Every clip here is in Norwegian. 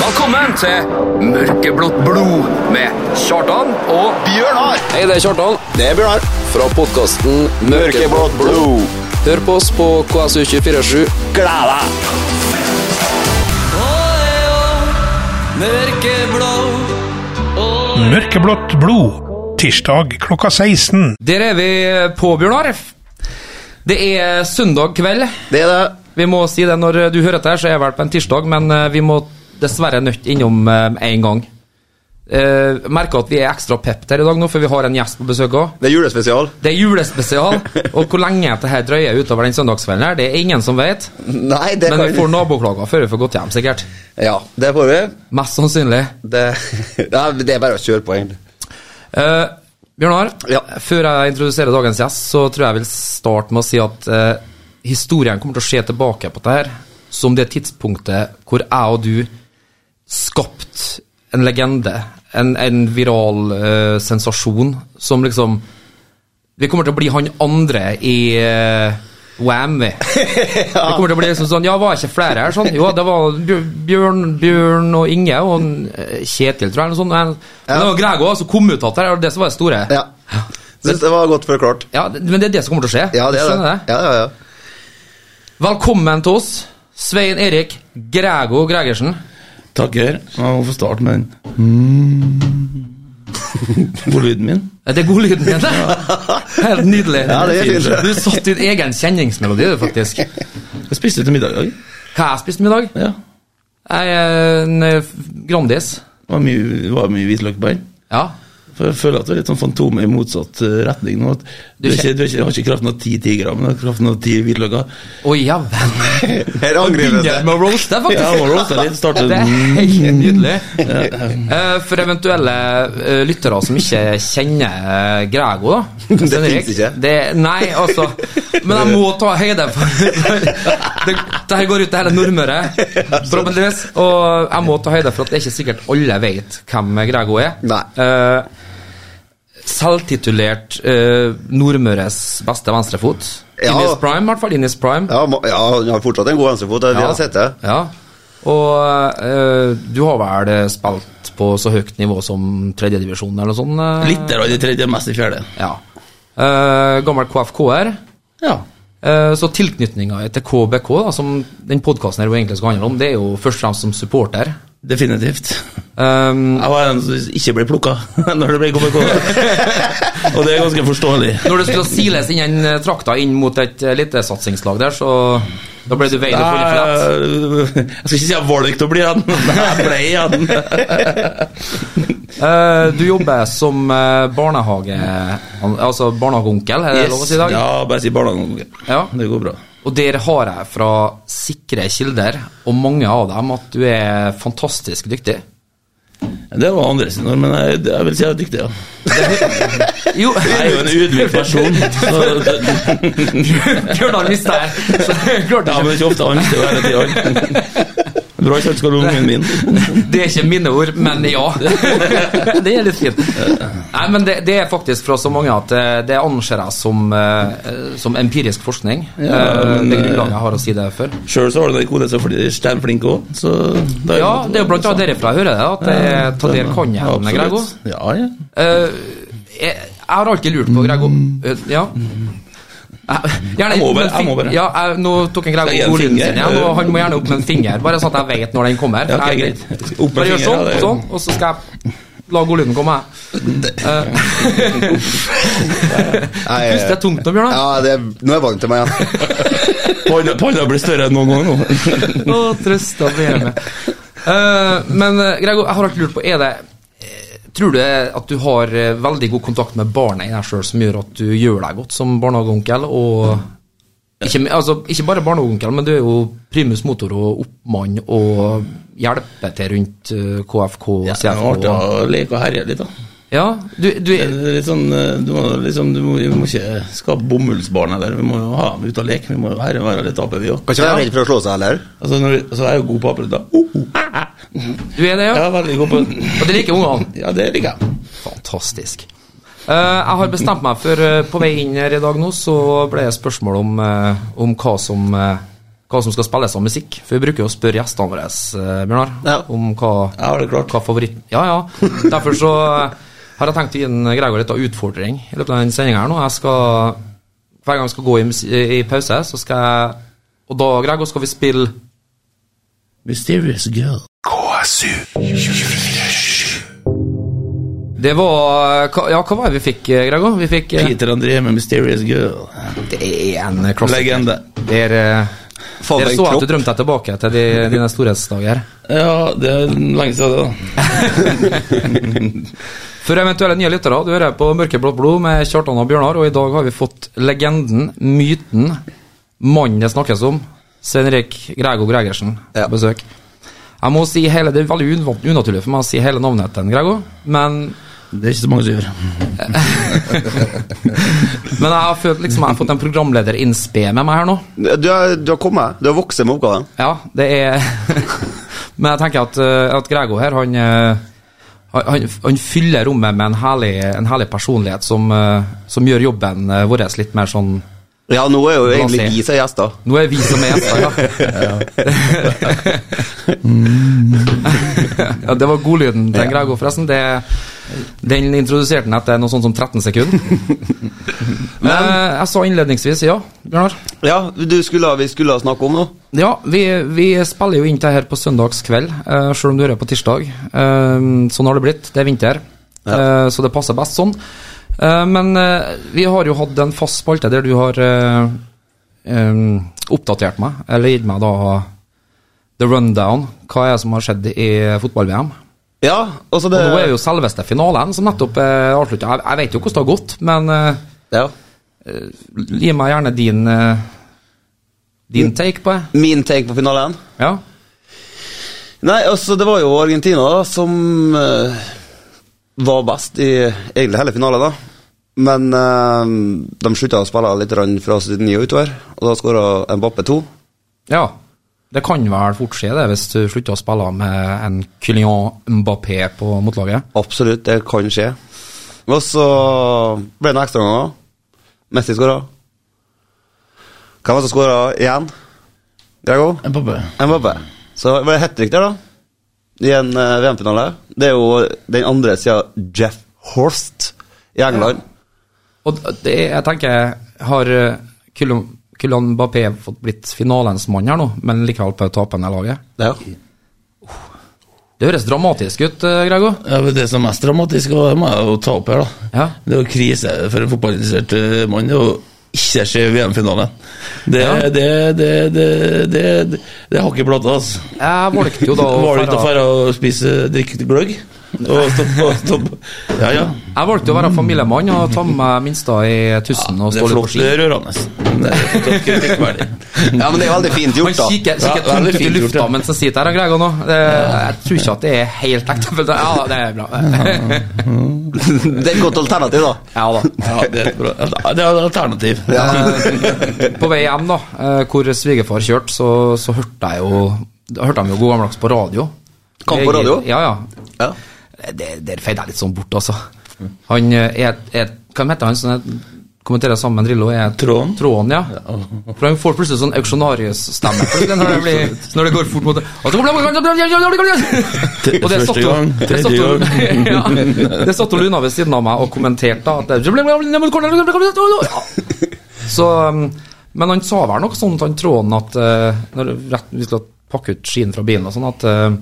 Velkommen til Mørkeblått blod med Kjartan og Bjørnar! Hei, det er Kjartan Det er Bjørnar. fra podkasten Mørkeblått blod. Hør på oss på KSU247. Gled deg! Mørkeblått blod. Tirsdag klokka 16. Der er vi på, Bjørnar. Det er søndag kveld. Det er det. Vi må si det når du hører dette, her, så er det vel på en tirsdag, men eh, vi må dessverre nødt innom én gang. Eh, merker at vi er ekstra pep her i dag nå, for vi har en gjest på besøk òg. Det er julespesial. Det er julespesial, og hvor lenge dette her drøyer utover den søndagskvelden her, det er ingen som vet. Nei, det Men vi kan får naboklager før vi får gått hjem, sikkert. Ja, det får vi. Mest sannsynlig. Det, Nei, det er bare å kjøre på, egentlig. Eh, Bjørnar, Ja. før jeg introduserer dagens gjest, så tror jeg jeg vil starte med å si at eh, historien kommer til å skje tilbake på dette her, som det tidspunktet hvor jeg og du skapt en legende, en, en viral eh, sensasjon, som liksom Vi kommer til å bli han andre i eh, Wham! vi. Det kommer til å bli liksom sånn Ja, var ikke flere her? Sånn. Jo, det var Bjør- Bjørn, Bjørn og Inge og en, eh, Kjetil, tror jeg, eller noe sånt. Men men det var Grego som kom ut av det, her, og det som var det store. Ja. Synes det var godt forklart. Ja, det- Men det er det som kommer til å skje. Ja, det er Skjønner det. det. Ja, ja, ja. Velkommen til oss, Svein Erik Grego Gregersen. Takker. Jeg må få starte med den. Mm. Hvor lyden min? Ja, Det er god lyden igjen, det. Helt nydelig. Ja, det er fint. Du satt din egen kjenningsmelodi, du, faktisk. Jeg spiste til middag i dag. Hva jeg spiste i dag? Ja. Jeg, eh, en eh, Grandis. Det var mye, det var mye hvitløk på den. Ja. For jeg føler at det er litt sånn fantomet i motsatt eh, retning nå. at Du, er ikke, du er ikke, har ikke kraften av ti tigre, men du har kraften av ti hvitløker. Å, jævlen. Her angrer vi Begynner det. med å roaste, Ja, jeg må faktisk. roaste litt. Starte Det er helt nydelig. Eh, For eventuelle eh, lyttere som ikke kjenner eh, Grego, da. Det Svein Erik, finnes ikke. Det, nei, altså. Men jeg må ta høyde for det. Dette går ut til hele Nordmøre, forhåpentligvis. Og jeg må ta høyde for at det er ikke sikkert alle vet hvem Grego er. Nei. Eh, Selvtitulert eh, Nordmøres beste venstrefot. Ja. Innis Prime, i hvert fall. Innis Prime. Ja, ma- ja, han har fortsatt en god venstrefot. Vi har sett det. Ja. Og eh, du har vel eh, spilt på så høyt nivå som tredjedivisjon eller noe sånt? eh? litt der, og det tredje, mest i fjerde. Ja. Eh, gammel KFK-er. Ja. Eh, så tilknytninga til KBK, da, som den podkasten her jo egentlig skal handle om, det er jo først og fremst som supporter. Definitivt. Um, Jeg var en som ikke ble plukka når det ble KBK. Og det er ganske forståelig. når det skulle siles inn den eh, trakta inn mot et eh, elitesatsingslag der, så da ble du veid og fullt flett. Eh, Jeg skal ikke si jeg valgte å bli han, men jeg ble han. Eh, du jobber som eh, barnehage... an- Altså barnehageonkel, er det lov å si i dag? Ja, bare si barnehagen. Ja. Det går bra. Og der har jeg fra sikre kilder, og mange av dem, at du er fantastisk dyktig. Det var andre sin ord, men jeg, jeg vil si jeg er dyktig, ja. Jo, Jeg er jo en ydmyk person. Så det, Bjørnar visste det her. Så det klarte ja, jeg men det er ikke ofte han mister jo hele tida. Bra kjøleskap om ungen min. ikke. Det er ikke mine ord, men ja. Det er litt fint. Nei, men det, det er faktisk fra så mange at eh, det anser jeg som, eh, som empirisk forskning. Ja, Eh, men, det eh, grunnlaget jeg har å si det for. Sjøl så har du den kone som er steinflink òg, så da Ja, det er jo blant annet derifra jeg hører det, at det er ta der kan jeg Ja, hende, Grego. absolutt. Ja, ja. Eh, jeg, jeg har alltid lurt på Grego eh, Ja. Jeg, gjerne, Mm. Jeg må bare- men fi- jeg må bare. Ja, jeg, nå tok en Grego Jeg gir en opp ordlyden finger. sin igjen, og han må gjerne opp med en finger. Bare sånn at jeg vet når den kommer. Ja, ok, Jeg- greit. Opp med Bare gjør fingeren, sånn, ja, og det- sånn, og så skal jeg la godlyden komme, jeg. Eh, Nei, Pust, det er tungt nå, Bjørnar. Ja, det, nå er jeg vant til meg igjen. Panna panna blir større enn noen gang nå. Å, trøst og bjørne. men eh, Grego, jeg har alltid lurt på, er det eh, Tror du det at du har eh, veldig god kontakt med barna i deg sjøl som gjør at du gjør deg godt som barnehageonkel? Og ikke, altså, ikke bare barnehageonkel, men du er jo primus motor og oppmann og hjelper til rundt eh, KFK og Ja, det er CFK. artig å leke og herje litt, da. Ja, du, du Det er er Litt sånn, eh, du, må, liksom, du, må, vi må ikke skape bomullsbarn heller. Vi må jo ha dem ut og leke. Vi må jo herre være litt ape, vi òg. Kan ikke være redd for å slå seg heller. Altså, når, altså, jeg er jo god på apeløtter. Oh, oh. du er det, ja? Jeg er uh. veldig god på Og det liker ungene? Ja, det liker jeg. Fantastisk. Eh, jeg har bestemt meg for eh, På vei inn her i dag nå så ble det spørsmål om, eh, om hva som eh, hva som skal spilles av musikk. For vi bruker jo å spørre gjestene våre, eh, Bjørnar, Ja. om hva, Jeg har det klart. hva favoritt... Ja, ja. Derfor så eh, har jeg tenkt å gi en Gregor litt av utfordring i løpet av denne sendinga her nå. Jeg skal Hver gang jeg skal gå i, mus- i pause, så skal jeg Og da, Gregor, skal vi spille Mysterious girl. KSU. Det var hva- Ja, hva var det vi fikk, eh, Gregor? Vi fikk eh, Peter André med Mysterious girl. Det er en klassiker. Legende. Der, eh, Faen, der den så jeg at du kropp. drømte deg tilbake til de, dine storhetsdager. Ja, det er lenge siden, det, da. For eventuelle nye lyttere, du hører på Mørkeblått blod med Kjartan og Bjørnar, og i dag har vi fått legenden, myten, mannen det snakkes om, Svein Erik Grego Gregersen, Ja. på besøk. Jeg må si hele, Det er veldig unva- unaturlig for meg å si hele navnet til en Grego, men, Det er ikke så mange som gjør. men jeg har følt liksom jeg har fått en programleder innsped med meg her nå. Du har, du har kommet. Du har vokst med oppgaven. Ja, det er Men jeg tenker at, eh, at Grego her, han, eh, han, han- han fyller rommet med en herlig, en herlig personlighet som, eh, som gjør jobben eh, vår litt mer sånn Ja, nå er jo Bra se. egentlig vi som er gjester. Nå er vi som er gjester, ja. ja. Det var godlyden til Grego, forresten. Det, den introduserte han etter noe sånt som 13 sekunder. Men eh, jeg sa innledningsvis ja, Bjørnar. Ja, du skulle, vi skulle snakke om noe. Ja, vi, vi spiller jo inn det her på søndagskveld, uh, selv om du hører på tirsdag. Eh, sånn har det blitt. Det er vinter, eh, så det passer best sånn. Eh, men eh, vi har jo hatt en fast spalte der du har eh, eh, oppdatert meg, eller gitt meg da the rundown. Hva er det som har skjedd i fotball-VM? Ja, altså Og det nå er jo selveste finalen som nettopp er avslutta. Jeg, jeg vet jo hvordan det har gått, men eh, ja. gi meg gjerne din, eh, din take på det. Min take på finalen. Ja. Nei, altså det var jo Argentina da, som eh, var best i egentlig hele finalen, da. Men eh, de slutta å spille litt grann fra 79 og utover, og da skåra Mbappe to. Ja, det kan vel fort skje det, hvis du slutter å spille med en Kylian Mbappé på motlaget. Absolutt, det kan skje. Og så ble det noen ekstraomganger. Messi skåra. Hvem var det som skåra igjen? Grego? En pappa. Mbappé. Så var det hat trick der, da. I en eh, VM-finale. Det er jo den andre sida Jeff Horst i England. Og det, jeg tenker, har eh, Kylian Kylian Mbappé fått blitt finalens mann her nå, men likevel på tapende laget? Ja. Det høres dramatisk ut, eh, Grego. Ja, men det som er mest dramatisk, og det må jeg jo ta opp her, da. Ja. Det er jo krise for en fotballinteressert eh, mann. Det er jo ikke se VM-finalen. Det, Ja. det, det, det, det, det, det er hakk i plata, altså. Jeg valgte jo da å Var du ute og være- færa og spise drikke gløgg? Og stopp, og stopp. Ja, ja. Jeg valgte å være familiemann og ta med meg minsta i tusen og Det stå er litt på flott. ski. Det er rørende. Det er fortsatt kritikkverdig. ja, men det er jo veldig fint Han gjort, da. kikker, Ja, kikker det er tungt ut i fint gjort, lufta ja. mens han sitter her, han Grego nå. Det, jeg tror ikke at det er helt ekte. men det- Ja, det er bra. det er et godt alternativ, da. Ja da. Ja, det er et bra. Det er et alternativ. På vei hjem, da, eh, hvor svigerfar kjørte, så, så hørte jeg jo Da hørte de jo god gammeldags på radio. Kamp på radio? Ja, ja. Ja. Det- Der feide jeg litt sånn bort, altså. Han eh, er, er Hva heter han som er- kommenterer sammen med Drillo? Er Tråden? Tråden, ja. For han får plutselig sånn auksjonarius-stemme plutselig når, det blir- når det går fort mot det. Og så- Og det satt Første gang, hun det satt hun- tredje gang. Ja, det satt hun Luna ved siden av meg og kommenterte da, at det- Ja. Så, um, men han sa vel noe sånt, han tråden, at eh, når rett, vi skulle pakke ut skien fra bilen og sånn, at eh,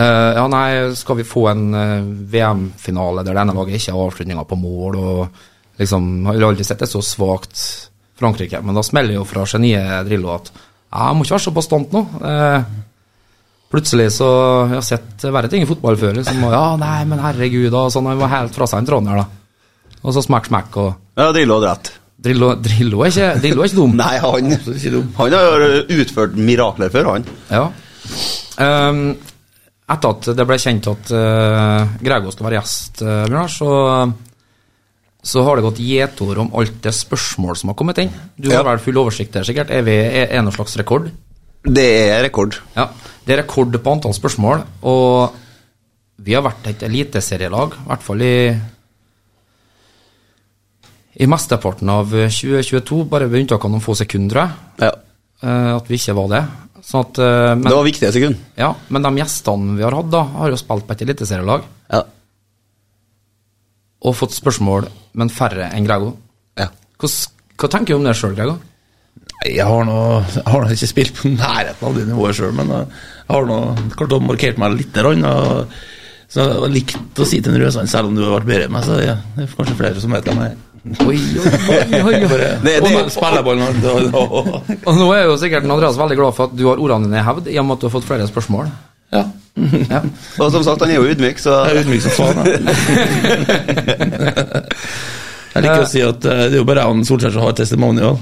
eh, ja, nei, skal vi få en eh, VM-finale der det ene laget ikke har avslutninger på mål, og liksom Har jo aldri sett det så svakt Frankrike, men da smeller jo fra geniet Drillo at ja, jeg må ikke være så bastant nå. Eh, plutselig så Jeg har sett verre ting i fotball før, liksom. Og, ja, nei, men herregud, da. og Sånn, han var helt fra seg, den tråden her, da. Og så smekk, smekk, og Ja, Drillo hadde rett. Drillo, Drillo, er, ikke, Drillo er ikke dum. Nei, han Han har jo utført mirakler før, han. Ja. Ehm, etter at det ble kjent at uh, Grego skal være gjest, eh, Bjørnar, så, så har det gått gjetord om alt det spørsmål som har kommet inn. Du Ja. har vel full oversikt der, sikkert? Er, vi, er, er det noen slags rekord? Det er rekord. Ja. Det er rekord på antall spørsmål, og vi har vært et eliteserielag, i hvert fall i i mesteparten av 2022, bare ved unntak av noen få sekunder, tror jeg. Ja. eh, at vi ikke var det. Sånn at, eh, men, Det var viktige sekund. ja, men de gjestene vi har hatt, da, har jo spilt på et eliteserielag Ja. og fått spørsmål, men færre enn Grego. ja. Hvordan, hva tenker du om det sjøl, Grego? Nei, Jeg har nå jeg har nå ikke spilt på nærheten av det nivået sjøl, men eh, jeg har nå klart å markert meg litt. Rann, og, så jeg har likt å si til en Røsand, selv om du har vært bedre enn meg, så ja, det er kanskje flere som vet hvem jeg er. Oi, oi, oi, oi, oi. Bare, Det- det, det- Og nå er jo sikkert Andreas veldig glad for at du har ordene dine i hevd, i og med at du har fått flere spørsmål. Ja. Ja. Og som sagt, han er jo ydmyk, så Jeg er ydmyk som faen, jeg. Jeg liker å si at eh, det er jo bare jeg og Solskjær som har testimonial.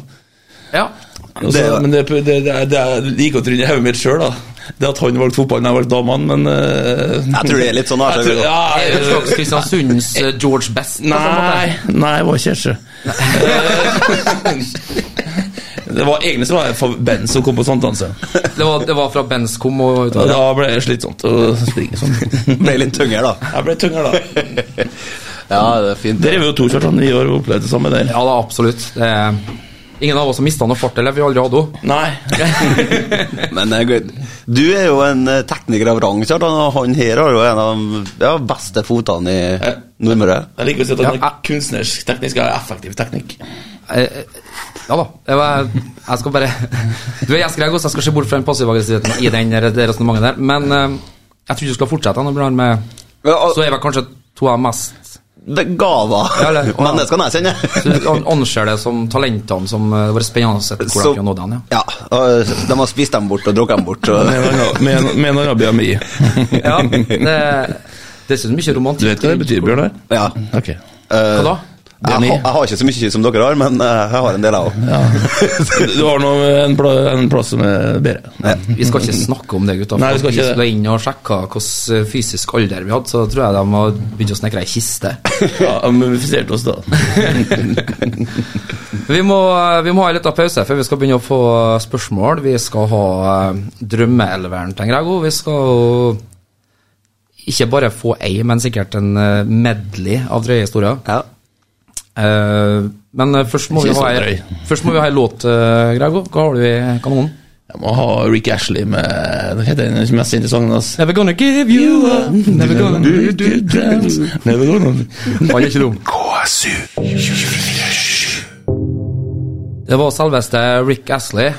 ja. Altså, Det er det. men det, det, det, er- det er like å tro i hodet mitt sjøl, da. Det at han valgte fotballen, jeg valgte damene, men eh, Jeg tror det er litt sånn her, så vi går. Ja, Er du en jeg- slags Kristiansunds eh, George Best? på en Nei, måte? nei, jeg var ikke Kjerse. det var egentlig så var det for Ben som kom på Sankthansen. Det var, det var fra Benz kom og Og Da ble det slitsomt å springe sånn. ble litt tyngre, da. Jeg ble tyngre da. Ja, det er fint. Der er vi jo to kjørt sånn, vi har opplevd det samme der. Ja da, absolutt. Det er ingen av oss har mista noe fart, eller vi har aldri hatt henne. Nei. Men eh, Gud, du er jo en eh, tekniker av rang, Kjartan, og han her har jo en av de ja, beste fotene i Nordmøre. Jeg liker å si at Ja, den er kunstnerisk teknisk er effektiv teknikk. Eh, Ja da. Jeg, var- jeg skal bare Du er gjest, Gregos, jeg skal se bort fra den passiv-aggressiviteten i den der- det resonnementet der. Men eh, jeg tror du skal fortsette. Nå blir han med Ja, og- Så er vel kanskje to av de mest Det gava Ja, eller- menneskene jeg kjenner. Så Han anser det som talentene som eh, det var spennende å se hvor de Så- kunne nådd hen. Ja. Ja, og de har spist dem bort og drukket dem bort. Så. Med en annen- med en- med en annen BMI. Ja, det, dessuten mye Du romantikk. vet hva det betyr, Bjørnar? Ja. Ok. Hva da? Jeg, BMI. har- jeg har ikke så mye som dere har, men eh, jeg har en del, jeg òg. Du har nå en, pla en plass som er bedre. Vi skal ikke snakke om det, gutta. Nei, for vi skal at ikke det. skulle inn og sjekke hvilken fysisk alder vi hadde, så tror jeg de må begynne å snekre ei kiste. Ja, mumifiserte oss da. Vi må, eh, vi må ha en liten pause før vi skal begynne å få spørsmål. Vi skal ha eh, drømmeelveren til Grego. Vi skal jo ikke bare få ei, men sikkert en eh, medley av drøye historier. Ja. Eh, Men eh, først må, vi ha, Ikke så ei- drøy. først må vi ha ei låt, eh, Grego. Hva har du i kanonen? Jeg må ha Rick Ashley med Hva heter den mest kjente sangen hans? Never gonna give you up. Never gonna do, do, do. Never gonna Han er ikke dum. KSU. Det var selveste Rick Astley.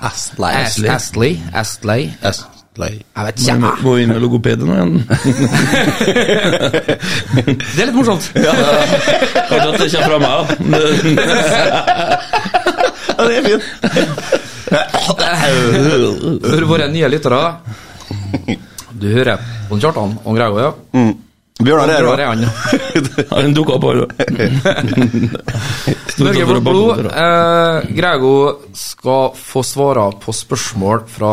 Astley. As- Astley. Astley. Astley. Jeg vet ikke. Må vi inn med logopeden igjen? Det er litt morsomt. Kanskje at det kommer fra meg, Ja, det er fint. da. For våre nye lyttere Du hører på Kjartan og Grego, ja? Bjørnar er Bra, det er jo han. Han dukka opp, han Norge vårt blod. Eh, Grego skal få svare på spørsmål fra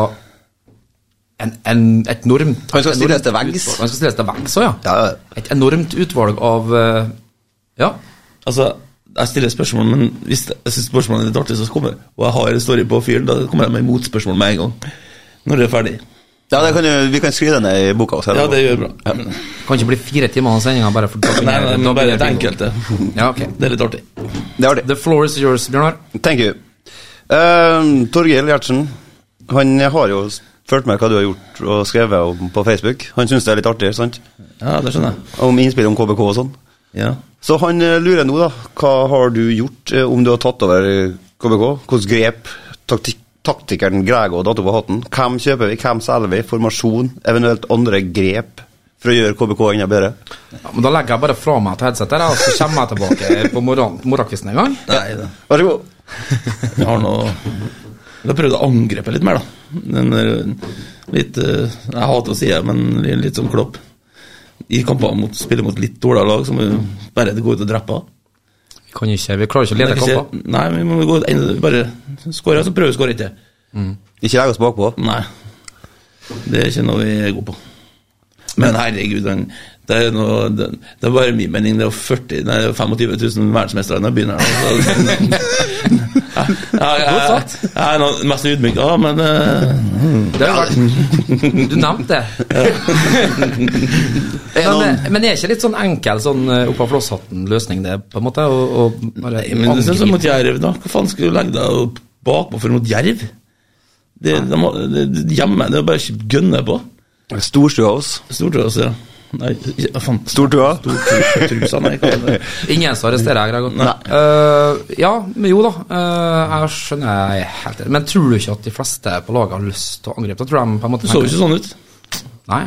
en, en, et enormt Han skal enormt stilles til veggs. utvalg. Han skal stilles til veggs òg, ja. Ja, Et enormt utvalg av eh, Ja. Altså, jeg stiller spørsmål, men hvis jeg syns spørsmålet er litt artig, så kommer Og jeg har en story på fyren, da kommer jeg med motspørsmål med en gang. Når det er ferdig. ja det kan, jo- vi kan skrive det ned i boka. også, Ja, eller? det gjør bra. Kan ikke bli fire timer av sendinga bare for Nei, nei, nei, men bare et enkelte. Ja, ok. Det er litt artig. det er artig. The floor is yours, Bjørnar. Thank you. Ehm, Torgeir Gjertsen, han har jo fulgt med hva du har gjort og skrevet om på Facebook. Han syns det er litt artig, sant? Ja, det skjønner jeg. Om innspill om KBK og sånn. Ja. Så han eh, lurer nå, da. Hva har du gjort, eh, om du har tatt over eh, KBK? Hvilke grep? Taktik taktikeren Grego datt over hatten. Hvem kjøper vi, hvem selger vi? Formasjon? Eventuelt andre grep for å gjøre KBK enda bedre? Ja, men da legger jeg bare fra meg et headset, der, og så kommer jeg tilbake på morgen- morgenkvisten en gang. Nei, da. Vær så god. Jeg har nå Jeg har prøvd å angripe litt mer, da. Den der, litt eh, Jeg hater å si det, men litt sånn klopp. I kamper mot spiller mot litt dårligere lag, så må vi bare gå ut og drepe. Kan ikke, Vi klarer ikke å Det lede er kamper. ikke, nei, vi må gå enda- bare skåre, så prøve å skåre ikke. Ikke legg oss bakpå. Nei. Det er ikke noe vi er gode på. Men herregud, han, det, er noe, det, det er bare min mening. Det er jo 40, nei, det er jo 25 000 verdensmestere i denne byen her. nå, så- Jeg- jeg- Godt sagt. Jeg jeg er nå mest ydmyk, ja, men eh, Det har vært, du nevnte det. Er Men, noen, eh, men er ikke litt sånn enkel sånn eh, opp av flosshatten-løsning det, på en måte? Å å bare men det er sånn som mot angripe Jerv, da. Hva faen skulle du legge deg bakpå for mot Jerv? Det, de, må- det, det- hjemme det er bare å gønne på. Storstua hos. Stortrusa. Nei, ja, faen. Stortua. Stortrusa, nei, hva er det? Ingen som arresterer jeg, Gregor. Nei. Eh, ja, men jo da. eh, jeg skjønner jeg er helt enig. Men tror du ikke at de fleste på laget har lyst til å angripe? Da tror jeg de på en måte Det så jo ikke sånn ut. Nei.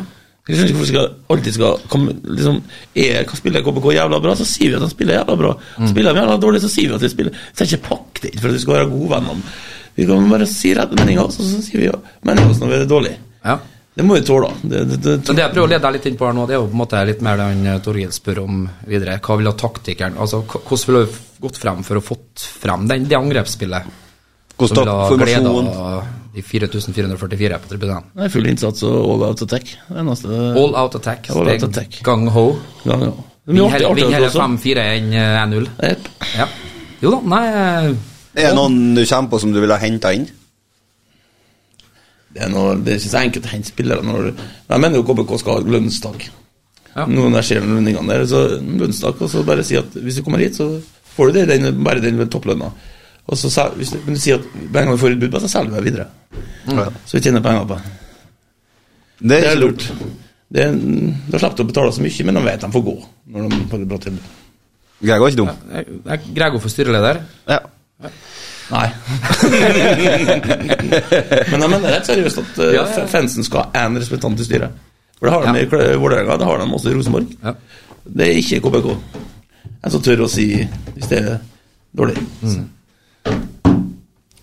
Jeg skjønner ikke hvorfor skal, alltid skal komme, liksom, er, kan spille KBK jævla bra, så sier vi at han spiller jævla bra. Mm. Spiller de jævla dårlig, så sier vi at de spiller. Vi trenger ikke pakke det inn for at vi skal være gode venner. Vi kan bare si rett meninga, og så så sier vi ja, meninga når vi er dårlige. Ja. Det må vi tåle. da. Det, det, det, Så det jeg prøver å lede deg litt inn på her nå, det er jo på en måte litt mer det han eh, Torgild spør om videre. Hva ville taktikeren Altså, k- hvordan ville du gått frem for å fått frem den, det angrepsspillet? Hvordan Som ville tatt ha formasjon? gleda de 4444 på tribunen. det er full innsats og all out attack. Det er eneste All out attack. All out steg attack. Gang ho. gang. Ja. Det Vinn blir artig, artig heller også. 5-4 enn eh, 1-0. Jep. Ja. Jo da, nei eh, Er det noen du kommer på som du ville ha henta inn? Det er, noe, det er ikke så enkelt å hente spillere når Jeg mener jo KBK skal ha lønnstak. Ja. Nå når jeg ser den lønningene der, så lønnstak, og så bare si at hvis du kommer hit, så får du det, den, bare den med topplønna. Og så sel- hvis du, men du sier at hver gang vi får et bud på det, så selger vi det videre. Så vi tjener penger på det. Det Det er ikke lurt. Det er, da slipper du å betale så mye, men de vet de får gå. Når de får et bra tilbud. Greg var ikke dum. Jeg- jeg- Gregor for styreleder. Ja. Nei. Men jeg mener rett seriøst at eh, Ja, ja, ja. Fansen skal ha én representant i styret. For det har de Ja. i Klø- Vålerenga, det har de også i Rosenborg. Ja. Det er ikke KBK. En som tør å si hvis det er dårlig. Mm.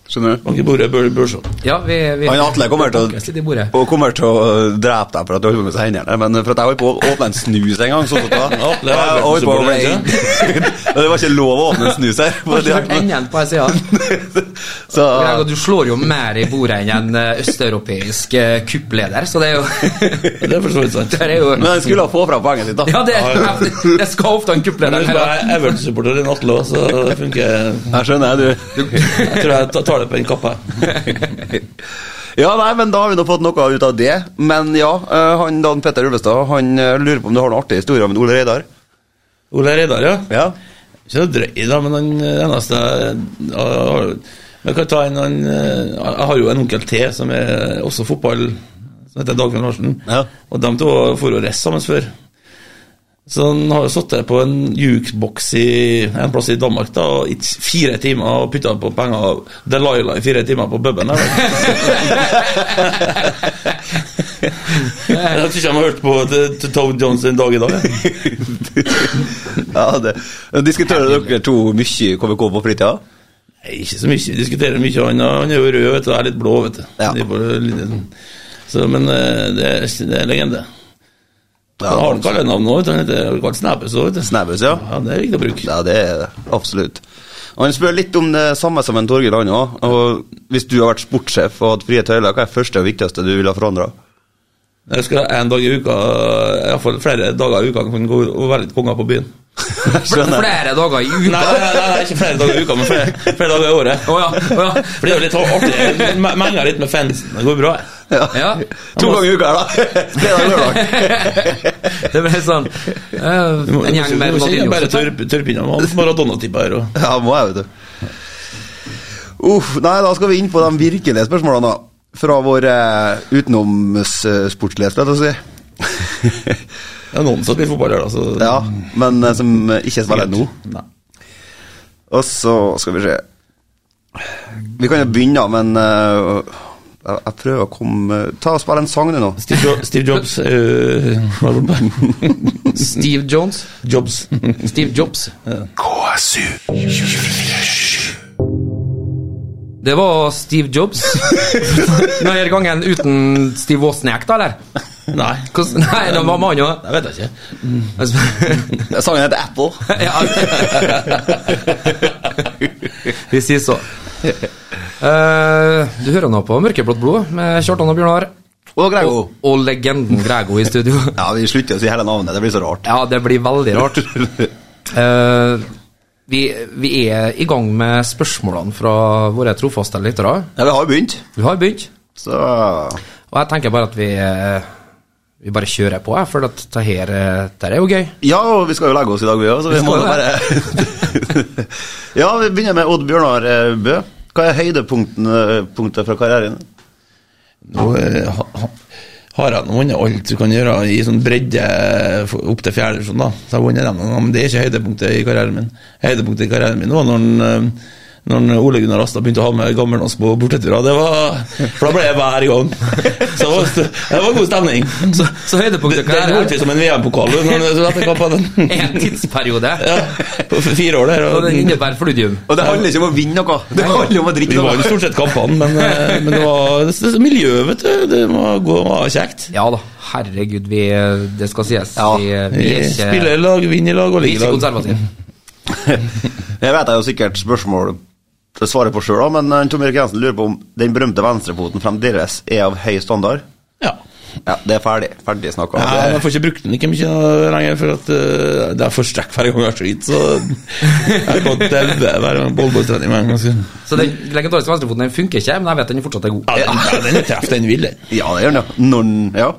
Skjønner du? Bank i bordet, bør børsa. Ja, vi, vi Han Atle kommer til Banker litt i å bordet. og kommer til å øh, drepe deg for at du holder på med disse hendene. Men øh, for at jeg holdt på å åpne en snus en gang. Sånn som da. Ja, det Jeg var holdt på å bli veldig Og det var ikke lov å åpne en snus her. Har ikke hørt enden på ei side. Så Gregor, du slår jo mer i bordet enn en eh, østeuropeisk eh, kuppleder, så det er jo Det er for så vidt sant. Det er jo Men han skulle ha få fram poenget sitt, da. Ja, det, det skal ofte en Men kuppleder hvis her. da. du er Everton-supporter enn Atle òg, så funker Jeg skjønner, du. Jeg tror jeg ta- tar det på en kappe. Ja, nei, men da har vi nå fått noe ut av det. Men ja, eh, han Dan Petter Ulvestad Han eh, lurer på om du har noen artige historier om Ole Reidar? Ole Reidar, ja. Ja. Ikke noe drøy, da, men han eh, eneste ja, har- Jeg kan ta en han, eh, Jeg har jo en onkel til som er også fotball, som heter Dagfinn Larsen. Ja. Og de to for å reise sammen før. Så han har jo sittet på en jukebox i en plass i Danmark da, og i t- fire timer og putta på penger Delilah i fire timer på puben. der, da. Jeg tror ikke han har hørt på til- til Tove Jones en dag i dag. jeg. ja det. Diskuterer dere to mye KVK på fritida? Nei, ikke så mye. Vi diskuterer mye annet. Han er jo rød, vet du. Jeg er litt blå, vet du. Ja. Det er bare litt- Så, men eh, det er, det er legende. Ja, han har han kallenavn òg. Han heter kalt Snabbes òg, vet du. Snabbes, ja. Ja, det er viktig å bruke. Ja, det er det. Absolutt. Og Han spør litt om det samme som en Torgeir han også, Og Hvis du har vært sportssjef og hatt frie tøyler, hva er det første og viktigste du ville ha forandra? Jeg skal ha en dag i uka, iallfall flere dager i uka, kan gå og være litt konger på byen. Flere dager i Nei, uka. nei, nei, nei, ikke flere dager i uka, men flere, flere dager i året. Å ja. å ja. For det er jo litt artig. Me- Menger litt med fansen. Det går bra. Ja. To ganger i uka, her, da! Fredag og lørdag. Det ble sånn eh, Du må- En gjeng du med må ikke Ronaldinho. Bare tørpe tørpe innom. Han Maradona-tipper her òg. Ja, må jeg, vet du. Uff, nei, da skal vi inn på de virkelige spørsmålene, da. Fra vår eh, utenomsportslige, skal jeg til å si. Det er noen som blir fotballer, da. Så ja, men eh, som eh, ikke spiller nå. Nei. Og så skal vi se Vi kan jo begynne, da, men eh, jeg, jeg prøver å komme eh, Ta og spille en sang, du, nå. Steve, jo Steve Jobs eh, hva var det på? Steve Jones. Jobs. Steve Jobs. KSU. Det var Steve Jobs. Denne gangen uten Steve Wozniak, da, eller? Nei, Hvordan- Nei, det var Altså, mannen jeg vet jeg ikke. òg. Sangen heter Apple. Ja. Vi sier så. Eh, du hører nå på Mørkeblått blod med Kjartan og Bjørnar. Og Grego. Og, og legenden Grego i studio. Ja, vi slutter å si hele navnet. Det blir så rart. Ja, det blir veldig rart. Eh, vi, vi er i gang med spørsmålene fra våre trofaste lyttere. Ja, vi har jo begynt, Vi har begynt, så og jeg tenker bare at vi, eh, vi bare kjører på, jeg, for at det her, eh, det her er jo gøy. Ja, og vi skal jo legge oss i dag, vi òg, så vi, Vi må skal da bare eh, Ja, vi begynner med Odd Bjørnar eh, Bø. Hva er høydepunktet fra karrieren? Nå eh, ha- ha- har han vunnet alt du kan gjøre i sånn bredde eh, for- opp til fjerde divisjon, da. Så jeg har vunnet dem noen ganger, men det er ikke høydepunktet i karrieren min. Høydepunktet i karrieren min var når han, eh, når han Ole Gunnar Astad begynte å ha med gammeldansk på borteturer. Det var, for da ble jeg hver gang. Så det var, det var god stemning. Så, så høydepunktet Det, det holdt vi som en VM-pokal. du, når du- etter kampen. en tidsperiode. Ja, på f- fire år der. Og den Og innebærer fludium. Og det handler ikke om å vinne noe. Det handler om å drikke vi var jo noe. stort sett kampene, men, eh, men det var det, det, miljøet, vet du. Det var, gå- var kjekt. Ja da, herregud, vi, det skal sies. Ja. Vi, vi er Vi spiller ikke, i lag, vinner i lag og vi er ligger i ikke lag. konservative. Jeg vet jeg jo sikkert spørsmål til svaret på sjøl, men eh, Tom Erik Jensen lurer på om den berømte venstrefoten fremdeles er av høy standard. Ja. Ja, det er ferdig. Ferdig snakka. Ja, men jeg får ikke brukt den like mye lenger, for at eh, det er for strekk hver gang jeg har skit, så jeg kan daue hver gang bollballtrening hver gang. altså. jeg skal- Så den legendariske venstrefoten den funker ikke, men jeg vet den fortsatt er god. Ja, den, ja, den treffer den vil, den. Ja, det gjør den, ja. Når den Ja.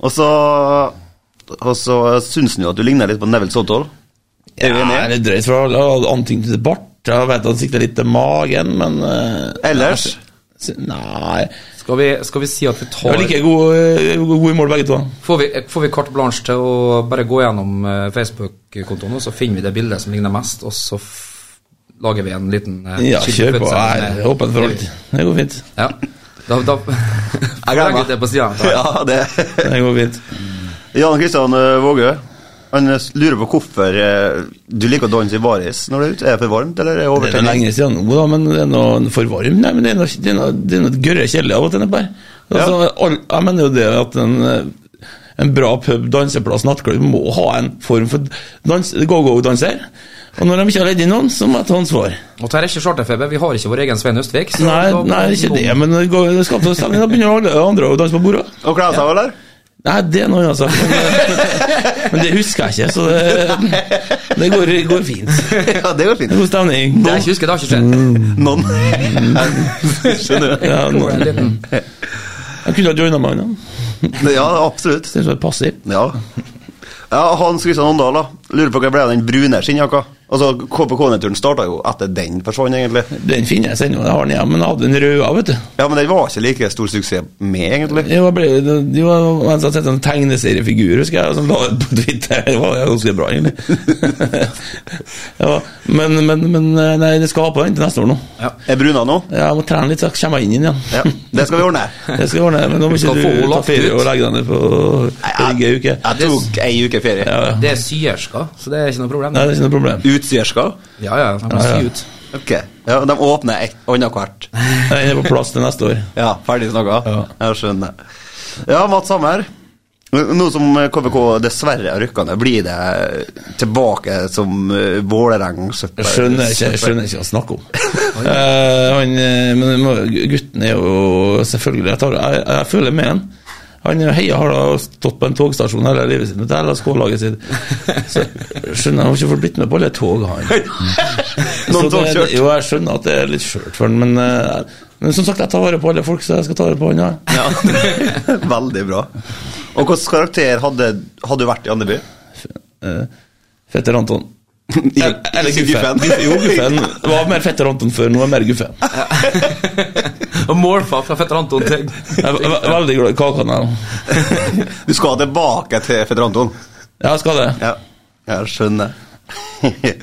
Og så Og så syns den jo at du ligner litt på Neville Soddal. Er du Ja, enig? det er drøyt, for jeg hadde anting til bart. Jeg vet han sikter litt til magen, men eh, Ellers? Nei Skal vi, skal vi si at vi Jeg var tar like god, eh, god i mål, begge to. Får vi, får vi carte blanche til å bare gå gjennom eh, Facebook-kontoen, og så finner vi det bildet som ligner mest, og så f lager vi en liten eh, Ja, kilde kjør på. Jeg fødsel. er åpen for alt. Det går fint. Ja. Da, da legger vi det på siden da. Ja, det Det går fint. Jan Kristian eh, Vågø. Han eh, lurer på hvorfor eh, du liker å danse i baris når du er ute. Er det for varmt, eller er det Det er noe overtenning? lenge siden nå, da, men det er noe for varm. Nei, men det er noe, det er noe, det er noe gørre kjedelig av og til. Neppe. Altså, all, jeg mener jo det at en, eh, en bra pub, danseplass, nattklubb må ha en form for dans, go-go-danser. Og når de ikke har ledd inn noen, så må jeg ta ansvar. Og dette er ikke charterfeber, vi har ikke vår egen Svein Østvik. så Nei, da- nei ikke det, men det går- det skaper stemning. Da begynner alle andre å danse på bordet. Og kle seg av, eller? Nei, det er noe annet, altså. eh, Men, men det husker jeg ikke, så det, det går, går fint. Det Ja, det går er fint. God stemning. Det jeg ikke husker, det har ikke skjedd. Noen Skjønner du? Ja, Tror jeg er en nå- liten Jeg kunne ha joina meg, da. Ja, absolutt. Synes jeg er passiv. Ja. ja Hans Kristian Åndal, da. Lurer på hva ble av den brune skinnjakka? Altså, KPK-nedturen starta jo etter den forsvant, egentlig. Den finnes ennå, jeg har den hjemme, men jeg hadde den røde, vet du. Ja, men den var ikke like stor suksess med, egentlig. Jeg var ble, det var mens jeg hadde sett en tegneseriefigur, husker jeg, som la ut på Twitter. Det var ganske bra, egentlig. ja, men, men, men nei, det skal jeg ha på den til neste år nå. Er bruna nå? Jeg må trene litt, så kommer jeg inn igjen. Ja, det skal vi ordne. Det skal jeg ordne, men nå må ikke Skal få du ta lagt ferie ut. og legge den ned på rygge uke. Jeg tok ei uke ferie. Det er syerska, så det er ikke noe problem. Nei, det er ikke noe problem. Utsyrska? Ja, ja, jeg må Ja, ja. sy ut. Ok. Ja, de åpner et annethvert. Den er på plass til neste år. Ja, ferdig snakka. Ja. Jeg skjønner. Ja, Mats Hammer. Nå som KVK dessverre har rykka ned, blir det tilbake som eh, Vålereng-søppel? Jeg skjønner ikke, jeg skjønner ikke hva han snakker om. Eh, han, eh, men det må- gutten er jo selvfølgelig Jeg, tar, jeg, jeg føler med han. Han er- heia har da stått på en togstasjon hele livet sitt med det hele skålaget sitt. Så jeg skjønner han har ikke fått blitt med på alle tog, han. Så Noen tog det- kjørt. Jo, jeg skjønner at det er litt skjørt for han, men, eh, men som sagt, jeg tar vare på alle folk, så jeg skal ta vare på han. Ja. Ja. Veldig bra. Og hvilken karakter hadde, hadde du vært i Andeby? Eh, Fetter Anton. I- Eller eller ikke Guffen. Guffen. Jo, Guffen. Det var mer Fetter Anton før, nå er det mer Guffen. Og morfa fra fetter Anton til Jeg er ve- veldig glad i kakene. jeg. Du skal tilbake til Fetter Anton? Ja, jeg skal det. Ja, jeg skjønner.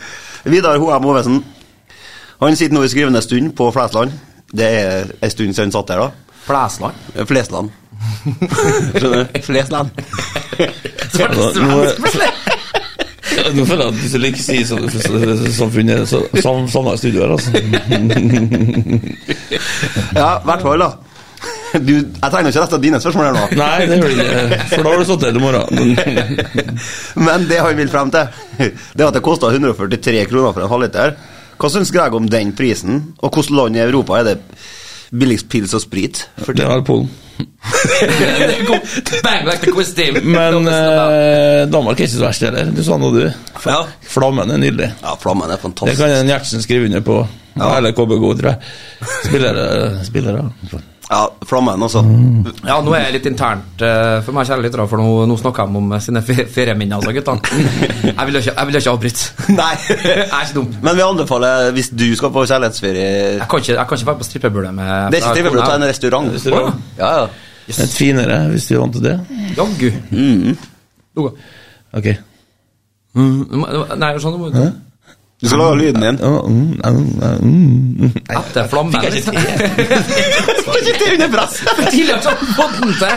Vidar H.M. Ovesen. Han sitter nå i skrivende stund på Flesland. Det er en stund siden han satt der, da. Flesland. Flesland. Skjønner du? Flesland. Så var det Nå- nå er- svensk plutselig. Nå føler jeg at hvis du ikke sier så, så, så, samfunnet, så, så, sånn er studioet her, altså. Ja, i hvert fall, da. Du, jeg tegner ikke resten av dine spørsmål her nå, Nei, det gjør det ikke. For da har du sittet her i morgen. men det han vil frem til, det er at det koster 143 kroner for en halvliter. Hva syns Greg om den prisen, og hvilket land i Europa er det billigst pils og sprit? For det var Polen. Bang, like the quiz team. Men eh, Danmark er ikke så verst heller. Du sa nå, du. Ja, Flammen er nydelig. ja flammen er Det fantastisk. kan en Gjertsen skrive under på. Eller KBK, tror jeg. Spillere. spillere. Ja, flammen, altså. Mm. Ja, nå er jeg litt internt eh, for meg, kjære lyttere, for nå, nå snakker de om eh, sine fe- ferieminner, altså, gutta. Jeg vil ikke, jeg vil ikke avbryte. Nei. Jeg er ikke dum. Men vi anbefaler, hvis du skal på Eh, kjærlighetsferie Jeg kan ikke, jeg kan ikke være på strippebule med Det er ikke trivelig å ta en restaurant. Restaurant. Ja, ja. Et finere, hvis du er vant til det. Jaggu. Mm. Luka. Ok. Mm, du må- Nei, sånn du må du Du skal lage lyden din. Ja, mm, ja, mm, mm. Etter liksom. flammen. Fikk jeg ikke til? Ikke til under press! Tidligere så fått den til!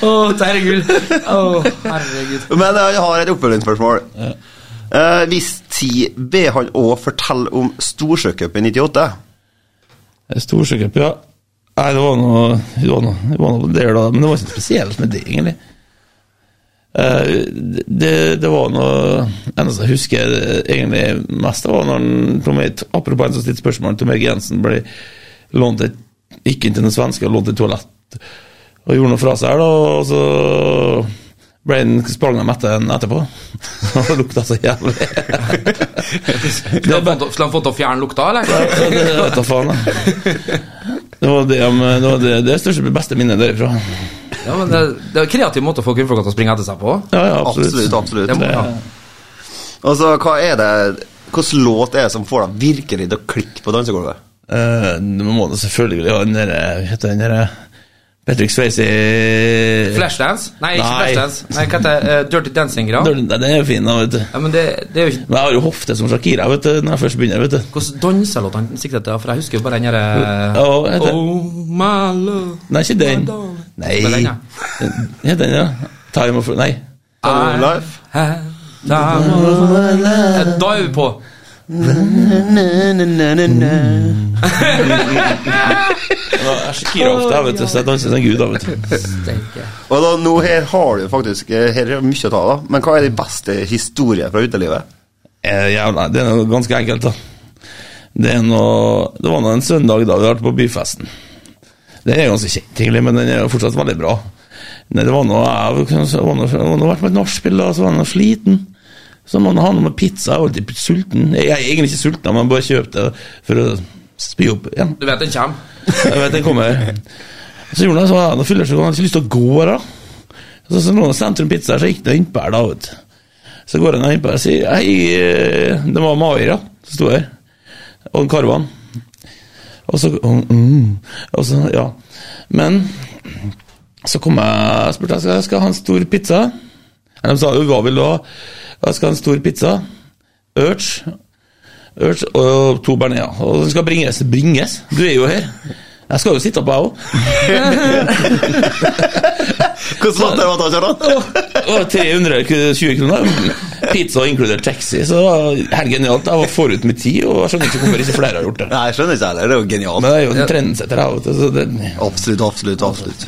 Å, herregud. Å, herregud. Men eh, jeg har et oppfølgingsspørsmål. Eh, hvis ti ber han å fortelle om Storsjøcupen i 98. Storsjøcup, ja. Nei, det var noe, det var noe, det var noe der da, men det var ikke noe spesielt med det, egentlig. Eh, det, det var noe eneste jeg husker eh, egentlig mest, det var når han- Tom Erik- apropos en som stilte spørsmål, Tom Erik Jensen ble lånt et, gikk inn til den svenske og lånte et toalett og gjorde noe fra seg her, da, og så ble han sprang han etter en etterpå. Og lukta så jævlig. Skulle han fått- skulle han fått til å fjerne lukta, Ja, eller? det det vet jeg faen, jeg. Det var det, om- det, var det, det største beste minnet derifra. Ja, men det, det er en kreativ måte å få kvinnfolka til å springe etter seg på. Ja, ja, absolutt. Absolutt. absolutt. Det må, ja. Altså, hva er det Hvilken låt er det som får deg virkelig til å klikke på dansegulvet? Eh, Du må da selvfølgelig ha den derre Hva heter den derre Patrick Swayze Flashdance? Nei, ikke Nei. Flashdance. Nei, hva heter det? Eh, Dirty Dancing-greia? Den den er jo fin, da, vet du. Ja, men det, det er jo ikke Men jeg har jo hofte som Shakira vet du, når jeg først begynner. vet du Hvordan danselåt han sikter til? For jeg husker jo bare den derre Ja, hva heter det? Oh, my love Nei, ikke den. my darling. Det Nei. er den, ja. Ja, den, ja. Time of Nei. Time of I Life? have time of my life. Da er vi på. Shakira-hofte, vet du, så jeg danser som en gud, da, vet du. Og da, nå her har du faktisk eh, Her er mye å ta av, men hva er de beste historiene fra utelivet? Eh, Jævla, det er noe ganske enkelt da Det, er noe, det var noe en søndag da vi hadde vært på byfesten Den er ganske kjent egentlig, men den er jo fortsatt veldig bra Nei, det var noe, jeg var noe, var noe, var noe vært på et nachspiel da, så var jeg noe sliten Så man har noe med pizza, jeg var alltid sulten Jeg er egentlig ikke sulten, men bare kjøpte det for å spy opp igjen Du vet den kommer. jeg vet den kommer. Så gjorde han sånn, ja, nå fyller jeg seg, han har ikke lyst til å gå her da. Så, så noen sendte en pizza, så gikk det innpå her da, vet du. Så går han innpå her og sier, hei, eh, det var Maira som sto her, og en karvan. Og så, og, mm, og så, ja. Men, så kom jeg og spurte, jeg, skal, jeg skal ha en stor pizza. Eller de sa, jo, hva vil du ha? Jeg skal ha en stor pizza. Urge. Urge og to bearnéer. Og den skal bringes. Bringes? Du er jo her. Jeg skal jo sitte på, jeg òg. Hvordan låt er det, Mata Kjartan? Det var 320 kroner. Pizza inkludert taxi. Så det var helt genialt. Jeg var forut med tid, og jeg skjønner ikke hvorfor ikke flere har gjort det. Nei, jeg skjønner ikke heller. Det er jo Men genialt. det er jo en trendsetter, jeg, vet du. Så det, Absolutt, absolutt, absolutt.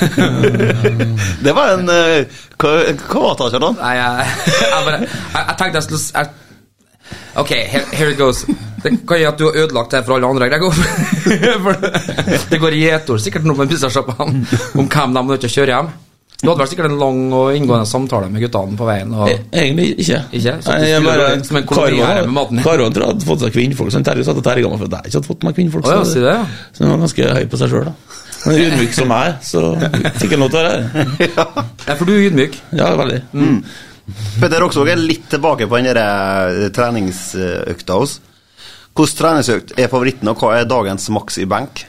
det var en eh, Hva hva var det, Kjartan? Nei, jeg, jeg, bare, jeg, jeg tenkte jeg skulle s- jeg, Ok, here, here it goes. Det kan gjøre at du har ødelagt det for alle andre. Gregor. For det går i ett år sikkert nå med pizzasjappene om hvem de er nødt til å kjøre hjem. Du hadde vel sikkert en lang og inngående samtale med guttene på veien. Og, E- Egentlig ikke. Ikke? Så Nei, du jeg skulle bare, vært som en koloni her med maten. Karon tror jeg hadde fått seg kvinnfolk, så Terje satt og terga meg for at jeg ikke hadde fått meg kvinnfolk. Å ja, si det, ja. så han var ganske høy på seg sjøl, da. Men ydmyk som jeg er, så fikk han lov til å være her. ja, for du er ydmyk. Ja, veldig. Petter Roksvåg er litt tilbake på den der, eh, treningsøkta hos. Hvordan treningsøkt er favoritten, og hva er dagens maks i benk?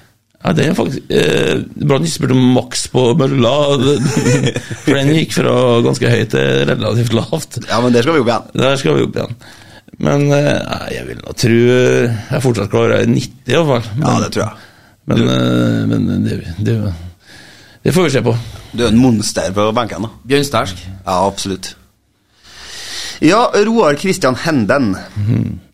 Ja, det er faktisk eh, Bra at du ikke spurte om maks på mølla, for den gikk fra ganske høyt til relativt lavt. Ja, men der skal vi opp igjen. Der skal vi opp igjen. Men eh, nei, jeg vil nå tro jeg fortsatt klarer 90, i hvert fall. Men, Ja, det tror jeg. men, eh, men det, det, det får vi se på. Du er en monster på benken, da. Bjørnstæsj. Ja, absolutt. Ja, Roar Christian Henden.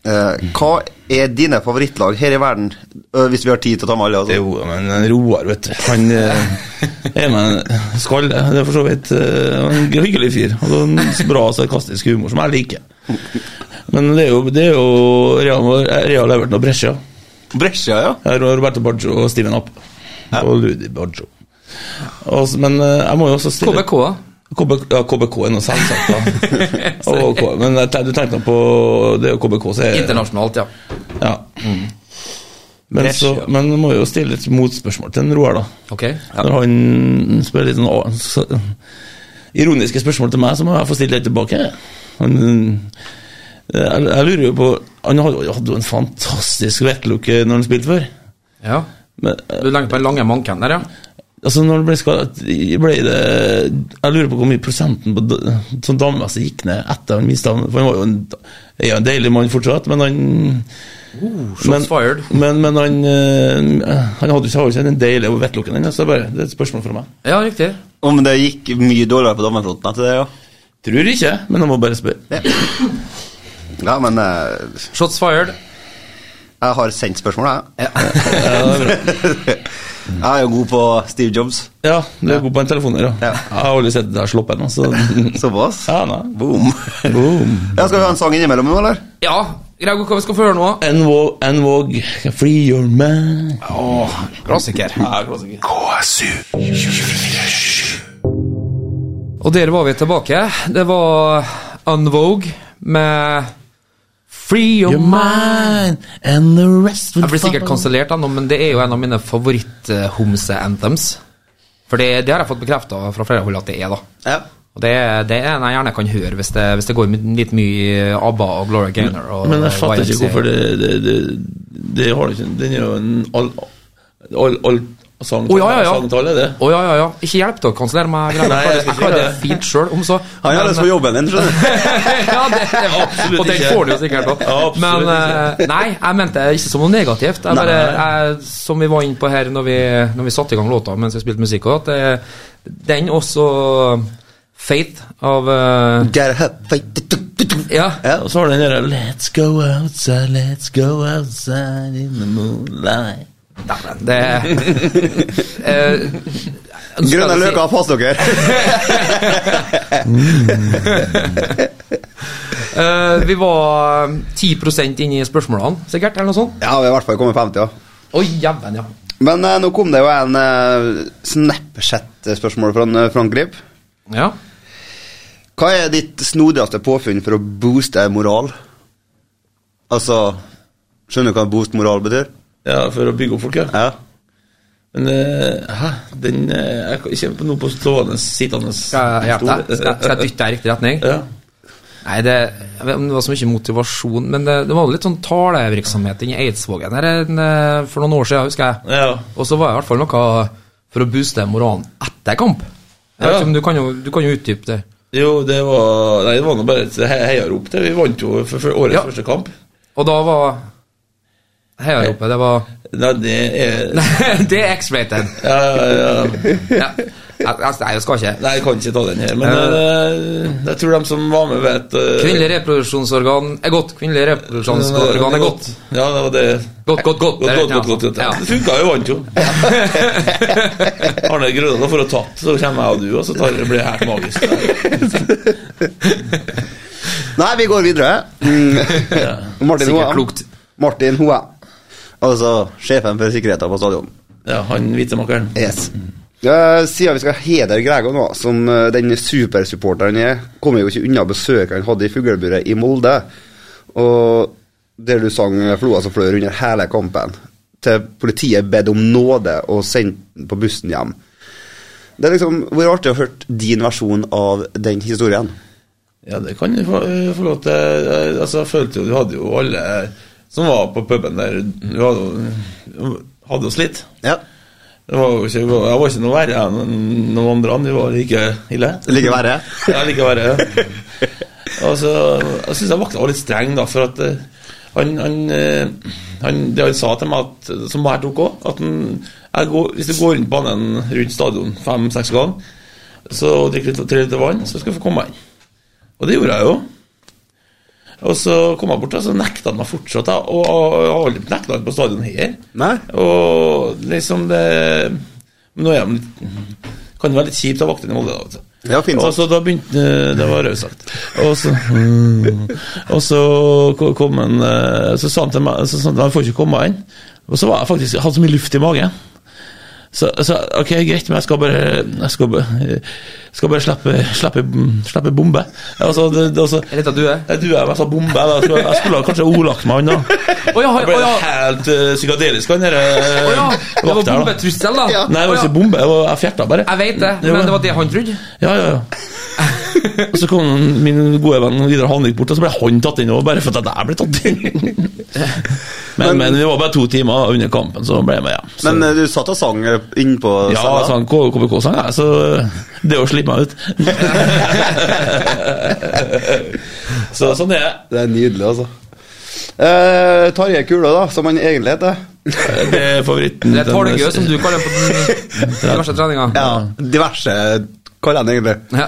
Eh, hva er dine favorittlag her i verden? Ø, hvis vi har tid til å ta med alle, altså. Jo, men en Roar, vet du. Han eh, er med en skalle. Det er for så vidt eh, en hyggelig fyr. Og så en bra sarkastisk humor, som jeg liker. Men det er jo, det er jo Real, eh, Real Everton og Brescia. Brescia, ja. Jeg har Roberto Baggio og Steven App. Og Ludi Baggio. Og så- men eh, jeg må jo også stille KBK. da. KBK, ja, KBK er noe selvsagt, da. Og K, Eh. men jeg tenkte- du tenkte på det er jo KBK som er Internasjonalt, ja. Ja. Men, Mm. Fresh, så, ja. men må jo stille et motspørsmål til en Roar, da. Ok? Når han spør litt sånn å, så, ironiske spørsmål til meg, så må jeg få stille det tilbake. Han, eh, jeg, jeg lurer jo på Han hadde jo- hadde jo en fantastisk vettlukke når han spilte før. Ja. Men, Du legger på den lange manken der, ja? Altså når det ble skadet ble det, Jeg lurer på hvor mye prosenten på da- sånn damemessig gikk ned etter han mista For han var jo en, er jo en deilig mann fortsatt, men han Oh, Shots fired. Men, men han eh, Han hadde jo ikke- har jo ikke den deilige og vettlukken ennå, så det er, bare, det er et spørsmål fra meg. Ja, riktig. Å, men det gikk mye dårligere på dommerfronten etter det, ja. Tror ikke, men jeg må bare spørre. Ja, men eh, Shots fired. jeg har sendt spørsmål, jeg. jeg er jo god på Steve Jobs. Ja, du er god på en telefon her, ja. Ja. Jeg har aldri sett deg sloppe ennå, så Såpass? Ja, nei. Boom. Boom. Ja, skal vi ha en sang innimellom nå, eller? Ja, Greg, hva vi skal få høre nå? NVOG, NVOG, free your man. Åh, klassiker. Og der var vi tilbake. Det var Unvogue med Free Your Your Mind. mind and the rest will Ah. Jeg blir sikkert follow. kansellert ennå, men det er jo en av mine favoritt-homse-anthems. For det, det har jeg fått bekrefta fra flere hold at det er, da. Ja. Og det, det er en jeg gjerne kan høre hvis det, hvis det går litt mye i ABBA og Gloria Gaynor og eh, Men jeg fatter YMCA. ikke hvorfor det Det, det, det har du ikke Den er jo en all, all, all sang, Å, ja, ja, ja. sangtale, det. Å ja, ja, ja. Ikke hjelp til å kansellere meg. Greg. Nei, jeg Jeg skal klarer det ikke fint sjøl, om så. Han gjør Men- det for jobben din, skjønner du. ja, det, det var, Absolutt og den ikke. får du jo sikkert òg. Absolutt Men ikke. eh, nei, jeg mente det ikke som noe negativt. Jeg bare, jeg, som vi var inne på her når vi, når vi satte i gang låta mens vi spilte musikk også, at det, den også Faith av eh, Get up, fight, du, du, du, du. Ja. Ja. Og så har den derre Let's go outside, let's go outside in the moonlight Dæven, det eh, nå skal Grønne jeg si- løker, pass dere! eh, vi var 10 inne i spørsmålene, sikkert, eller noe sånt? Ja, vi har i hvert fall kommet 50, ja. Å, jæven, ja. Men eh, nå kom det jo en eh, Snapchat-spørsmål fra en, eh, Frank Grip. ja. Hva er ditt snodigste påfunn for å booste moral? Altså Skjønner du hva boost moral betyr? Ja, for å bygge opp folk, ja. Ja. Men eh, hæ? Den eh, Jeg kan ikke på noe på stående, sittende Skal jeg hjelpe deg? Skal jeg- skal jeg dytte deg i riktig retning? Ja. Nei, det, jeg vet ikke om det var så mye motivasjon, men det, det var jo litt sånn talevirksomhet inni Eidsvågen her en, eh, for noen år siden, husker jeg. ja. Og så var det i hvert fall noe for å booste moralen etter kamp. Jeg vet Ja. ikke om du kan jo, du kan jo utdype det. Jo, det var Nei, det var nå bare et he- heiarop. det. Vi vant jo for, for årets Ja. første kamp. Og da var Heiaropet, det var Nei, det er Nei, Det er X-rated. ja, ja, ja. Ja. Jeg, jeg, jeg skal ikke. Nei, jeg kan ikke ta den her, men eh, jeg tror de som var med, vet eh, Kvinnelig reproduksjonsorgan er godt. Kvinnelig reproduksjonsorgan er godt. Ja, det var det. Godt, godt, godt. Godt, Det er godt, rett, godt, godt, godt. ja. Ja. Det funka jo, vant jo. Arne Grødal får ha tatt, så kommer jeg og du, og så tar, blir det helt magisk. Nei, vi går videre. Mm. Martin Sikkert Hoem. klokt. Martin Hoem. Altså sjefen for sikkerheten på stadion. Ja, han hvitemakeren. Yes. Eh, siden vi skal hedre Grego nå, som eh, den supersupporteren han er, kommer jo ikke unna besøket han hadde i fugleburet i Molde. Og der du sang eh, 'Floa som flør' under hele kampen. Til politiet bedt om nåde og sendt den på bussen hjem. Det er liksom, Hvor artig å høre din versjon av den historien. Ja, det kan du få, eh, få lov til. Eh, Altså, jeg følte jo du hadde jo alle som var på puben der, du hadde, jo- hadde oss litt. Ja. Det var jo ikke, jeg var ikke noe verre enn noen andre, vi var like ille. Like verre. Ja, likevel. Ja. Og så, jeg syns jeg vakta var litt streng, da, for at eh, han, han, eh, han Det han sa til meg, at, som jeg tok òg, at han, jeg går, hvis du går rundt banen rundt stadion fem-seks ganger så og drikker litt, tre liter vann, så skal du få komme inn. Og det gjorde jeg jo. Og så kom jeg bort, og så nekta han meg fortsatt. da, Og og jeg har aldri nekta han på stadion her. Nei. Og liksom det Men nå er jeg litt Kan det være litt kjipt å vakte inn i Molde, da. vet du. Det var fint Og sagt. så da begynte Det var raust sagt. Og så, og så ko- kom han eh, Så sa han til meg så sa han, at han får ikke komme inn. Og så var jeg faktisk, jeg hadde så mye luft i magen. Så, så ok, greit, men jeg skal bare Jeg skal bare, skal bare slippe, slippe, slippe bombe. Altså, det, det, altså, Er dette du er? jeg duer meg som bombe. da. Jeg skulle, jeg skulle ha kanskje ordlagt meg han, da. Å ja, Jeg ble å ja. helt eh, psykadelisk, han derre Å ja, det var vakta her, da. bombetrussel, da. Nei, det var Å ja. ikke bombe, jeg, var, jeg fjerta bare. Jeg vet det, Jo, men ja. det var det han trodde. Ja, ja, ja. Og så kom min gode venn Vidar Hanvik bort, og så ble han tatt inn òg, bare for at jeg ble tatt inn. Men, men det var bare to timer under kampen, så ble jeg med, ja. Så, Men eh, du satt og sang eh, innpå ja, altså, cella? jeg sang KBK-sang, jeg, så det å slippe meg ut Så sånn er det. Det er nydelig, altså. Eh, Tarjei Kula, da, som han egentlig heter. Det er favoritten. Det er Talgø, som du kaller på den diverse treninga. Ja, diverse kaller han egentlig. Ja.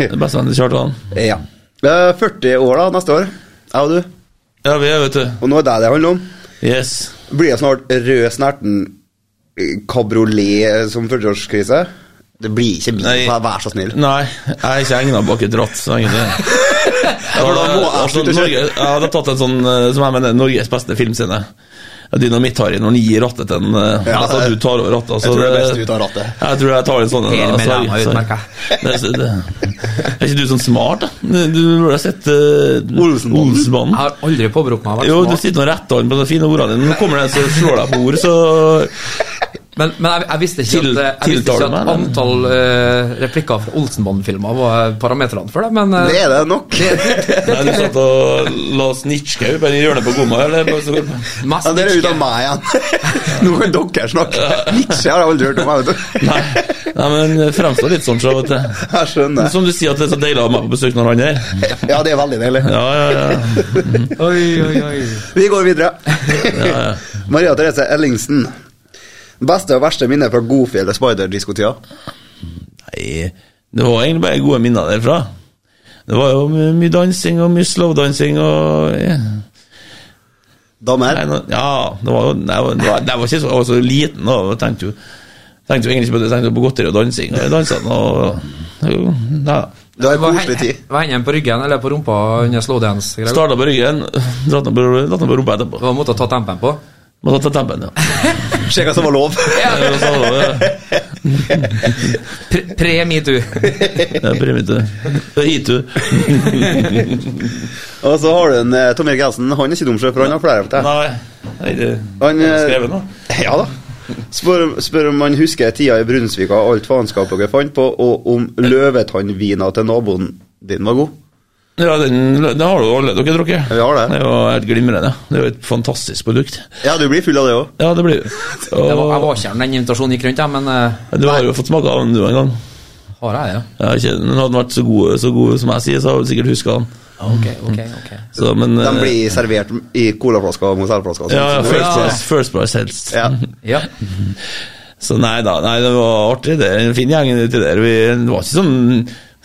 Det beste vennen til Kjartan. Ja. Eh, 40 år da, neste år. Jeg og du. Ja, vi er, vet du. Og nå er det det handler om. Yes. Blir det snart rød snerten eh, kabriolet som 40-årskrise? Det blir ikke bil, Nei. vær vær så snill. Nei, jeg er ikke egnet bak et ratt. Så egentlig. Ja, for da må jeg altså, slutte å Norge, kjøre. jeg hadde tatt en sånn eh, som jeg mener Norges beste filmscene. Dynamitt-Harry når han gir rattet til en eh, Ja, altså, det- du tar over rattet. Altså, jeg tror det er best du tar rattet. Jeg tror jeg tar en sånn. en, Per da, med sorry, ræva sorry. utmerka. Det, det, er ikke du sånn smart, da? Du burde ha sett eh, Olsenbanden. Olsenbanden. Jeg har aldri påberopt meg å være Jo, du smart. sitter og retter an på de fine ordene dine. Nå kommer det en som slår deg på ord, så Men, men jeg, jeg visste ikke Til- at, jeg visste tiltaler ikke at meg, men- antall eh, replikker fra Olsenbanden-filmer var parametrene for det, men eh, Det er det nok. det, det, Nei, du satt og la snitchkau bare i hjørnet på gomma, eller? mest Ja, Dere er ikke. ute av meg igjen. Nå kan dere snakke. Nietzsche har jeg aldri hørt om. Jeg, vet du. Nei, nei men fremstår litt sånn, så vet du. jeg Men skjønner. Som du sier at det er så deilig å ha meg på besøk når han er her. Ja, det er veldig deilig. Ja, ja, ja. Oi, oi, oi. Vi går videre. Maria Therese Ellingsen. Beste og verste minne fra Goofy eller Spider-diskotida? Nei, det var egentlig bare gode minner derfra. Det var jo my- mye dansing og mye slowdansing og ja. Damer? Nei, nå- ja, det var jo nei, det var- det var, det var ikke så, jeg var så liten da, og tenkte jo Tenkte jo egentlig ikke på det, tenkte jo på godteri og dansing og danset og jo, ja. Det var Hva en koselig hender tid. hva hender på ryggen eller på rumpa under slowdance? Greg? Starta på ryggen, dratt ned på, dratt ned på rumpa etterpå. Det var en måte å ta tempen på. Måtte ta tempen, ja. Se hva som var lov. Det var sånn, ja. Pre- Pre-metoo. Det er primitivt. Det er hitu. Og så har du en eh, Tom Erik Helsen. Han er ikke dum sjøl, for han har flere. vet jeg. Nei, nei, det Han, er eh, skrevet nå. Ja da. Spør, spør om han husker tida i Brunsvika og alt faenskapet dere fant på, og om løvetannvina til naboen din var god. Ja, den, det har jo alle dere drukket. Ja, vi har det. Det er jo helt glimrende. Det er jo et fantastisk produkt. Ja, du blir full av det òg. Ja, det blir Jeg var, jeg og, var ikke her når den invitasjonen gikk rundt, jeg, men eh, Du har jo fått smake av den du en gang. har jeg det? Ja, ikke, den hadde den vært så god, så god som jeg sier, så hadde du sikkert huska den. Ok, ok, ok. Så, men, De eh, blir servert i colaflasker og mozellflasker. ja, ja, sånn. first, Ja. price, first price helst. Ja. Ja. Så nei da, nei, det var artig. Det er en fin gjeng uti der. Vi, det var ikke sånn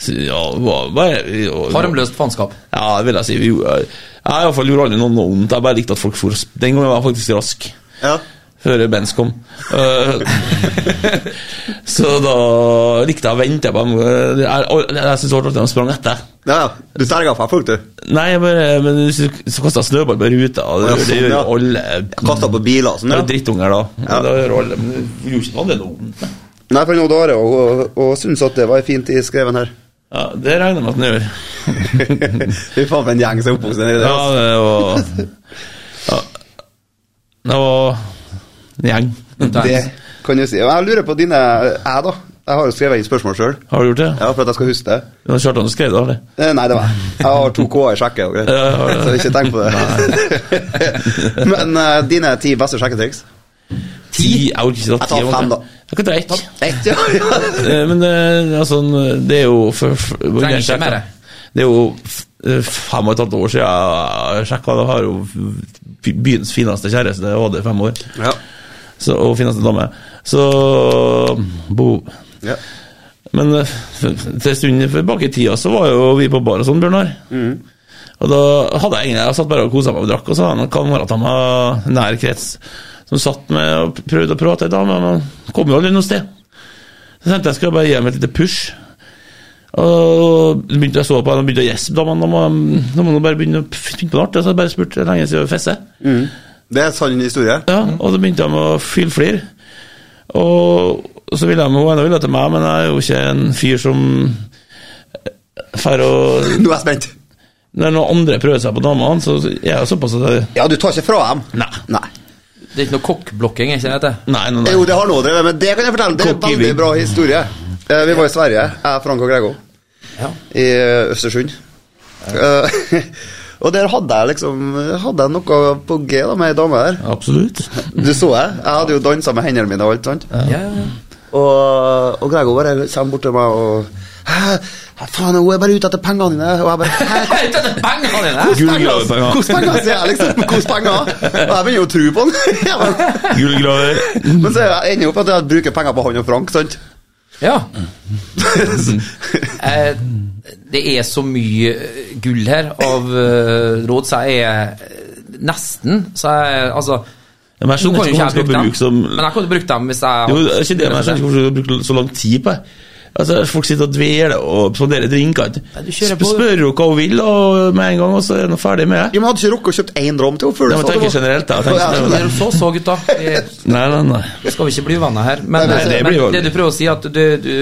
ja, det var bare, vi- og- Harmløst faenskap. Ja, det vil jeg si. Vi, gjorde- jeg, jeg i hvert fall gjorde aldri noe vondt. Jeg bare likte at folk for Den gangen var jeg faktisk rask. ja. Før Benz kom. Eh, så da likte jeg å vente på dem. Eh, Jeg, jeg, jeg syntes det var artig at de sprang etter. ja, ja. Du terga fra folk, du. Nei, jeg bare, men så, så kasta jeg snøball på ruta. og Ja, Det, sånn, det gjør ja. jo alle. Kasta på biler og sånn. Det er jo Ja. drittunger, da. Ja. Det gjør alle. Men det gjorde ikke noe annet enn vondt. Nei, for Odd Are og, og, og syns at det var ei fin tid skreven her. Ja, det regner jeg med at den gjør. Fy faen, for en gjeng som er oppvokst nedi der. Ja, altså. det var ja. Det var en gjeng. Det kan du si. Og Jeg lurer på dine Jeg, da. Jeg har jo skrevet inn spørsmål sjøl. Har du gjort det? Ja, for at jeg skal huske det. Det var Kjartan som skrev det, eller? Eh, Nei, det var jeg. Jeg har to K-er i sjekket og Ja, jeg har greier. det. Så ikke tenk på det. Men eh, dine ti beste sjekketriks? Ti? Jeg orker ikke ta Jeg tar ti. fem, da. Jeg kan ta ett. Ett, ja. Eh, Men eh, altså, det er jo for, for, Trenger ikke mer. Det er jo f- eh, fem og et halvt år siden jeg sjekka. Jeg har jo f- byens fineste kjæreste, jeg hadde i fem år, ja. så, og fineste dame. Så bo. ja. Men eh, f- til stunden tilbake i tida så var jo vi på bar og sånn, Bjørnar. Og da hadde jeg egentlig Jeg satt bare og kosa meg og drakk, og så hadde jeg noen kamerater med nær krets som satt med og prøvde å prate ei dame, men kom jo aldri noe sted. Så tenkte jeg skulle bare gi dem et lite push. Og da begynte jeg så på henne og begynte å gjespe. Da må nå må hun bare begynne å finne på noe artig. Så jeg bare spurte hvor lenge siden vi fesset. Det er en sann historie. Ja, og så begynte de å fylflire. Og så ville de, hun ene ville til meg, men jeg er jo ikke en fyr som drar og Nå er jeg spent. Når noen andre prøver seg på damene, så er jeg såpass at jeg Ja, du tar ikke fra dem? Nei. Nei. Det er ikke noe kokkblokking, er ikke det det? Nei, nei, nei. Jo, det har noe drevet med. Det kan jeg fortelle. Det er en Cocky veldig Wing. bra historie. Eh, Vi var i Sverige, jeg, Frank og Grego, Ja. i eh, Østersund. Eh, og der hadde jeg liksom Hadde jeg noe på G da med ei dame der. Absolutt. Du så jeg. Jeg hadde jo dansa med hendene mine og alt sånt. Ja, ja, ja. Og, og Gregor bare kommer bort til meg og «Hæ? Faen, hun er bare ute etter pengene dine. Og jeg bare Hæ? Hei, denne penga dine! Gullgravepenger. Hvordan penger sier jeg, liksom? Hvordan penger? Og jeg begynner jo å tro på han. Ja, men- Gullgraver. Men så ender jeg opp at jeg bruker penger på han og Frank, sant? Ja. Eh, det er så mye eh, gull her av eh, råd, så jeg er eh, nesten Så jeg Altså Men jeg nå skjønner kan jo ikke ikke hvordan jeg skal bruke dem, bruke som men jeg kan jo bruke dem hvis Jo, jeg det er ikke det, men jeg skjønner ikke hvorfor du har brukt så lang tid på det. Altså, Folk sitter og dveler og spanderer drinker. ikke? Nei, du kjører Sp på. spør jo hva hun vil, og med en gang, og så er hun ferdig med det. Ja, men hadde ikke rukket å kjøpt én dram til henne før Ja, sa men det tenker var- generelt, da. Tenker Ja, generelt. men- Gjør så, så, gutta. Vi Nei, nei, nei. skal vi ikke bli venner her. Men, eh, Nei, det men blir jo- det du prøver å si, at du, du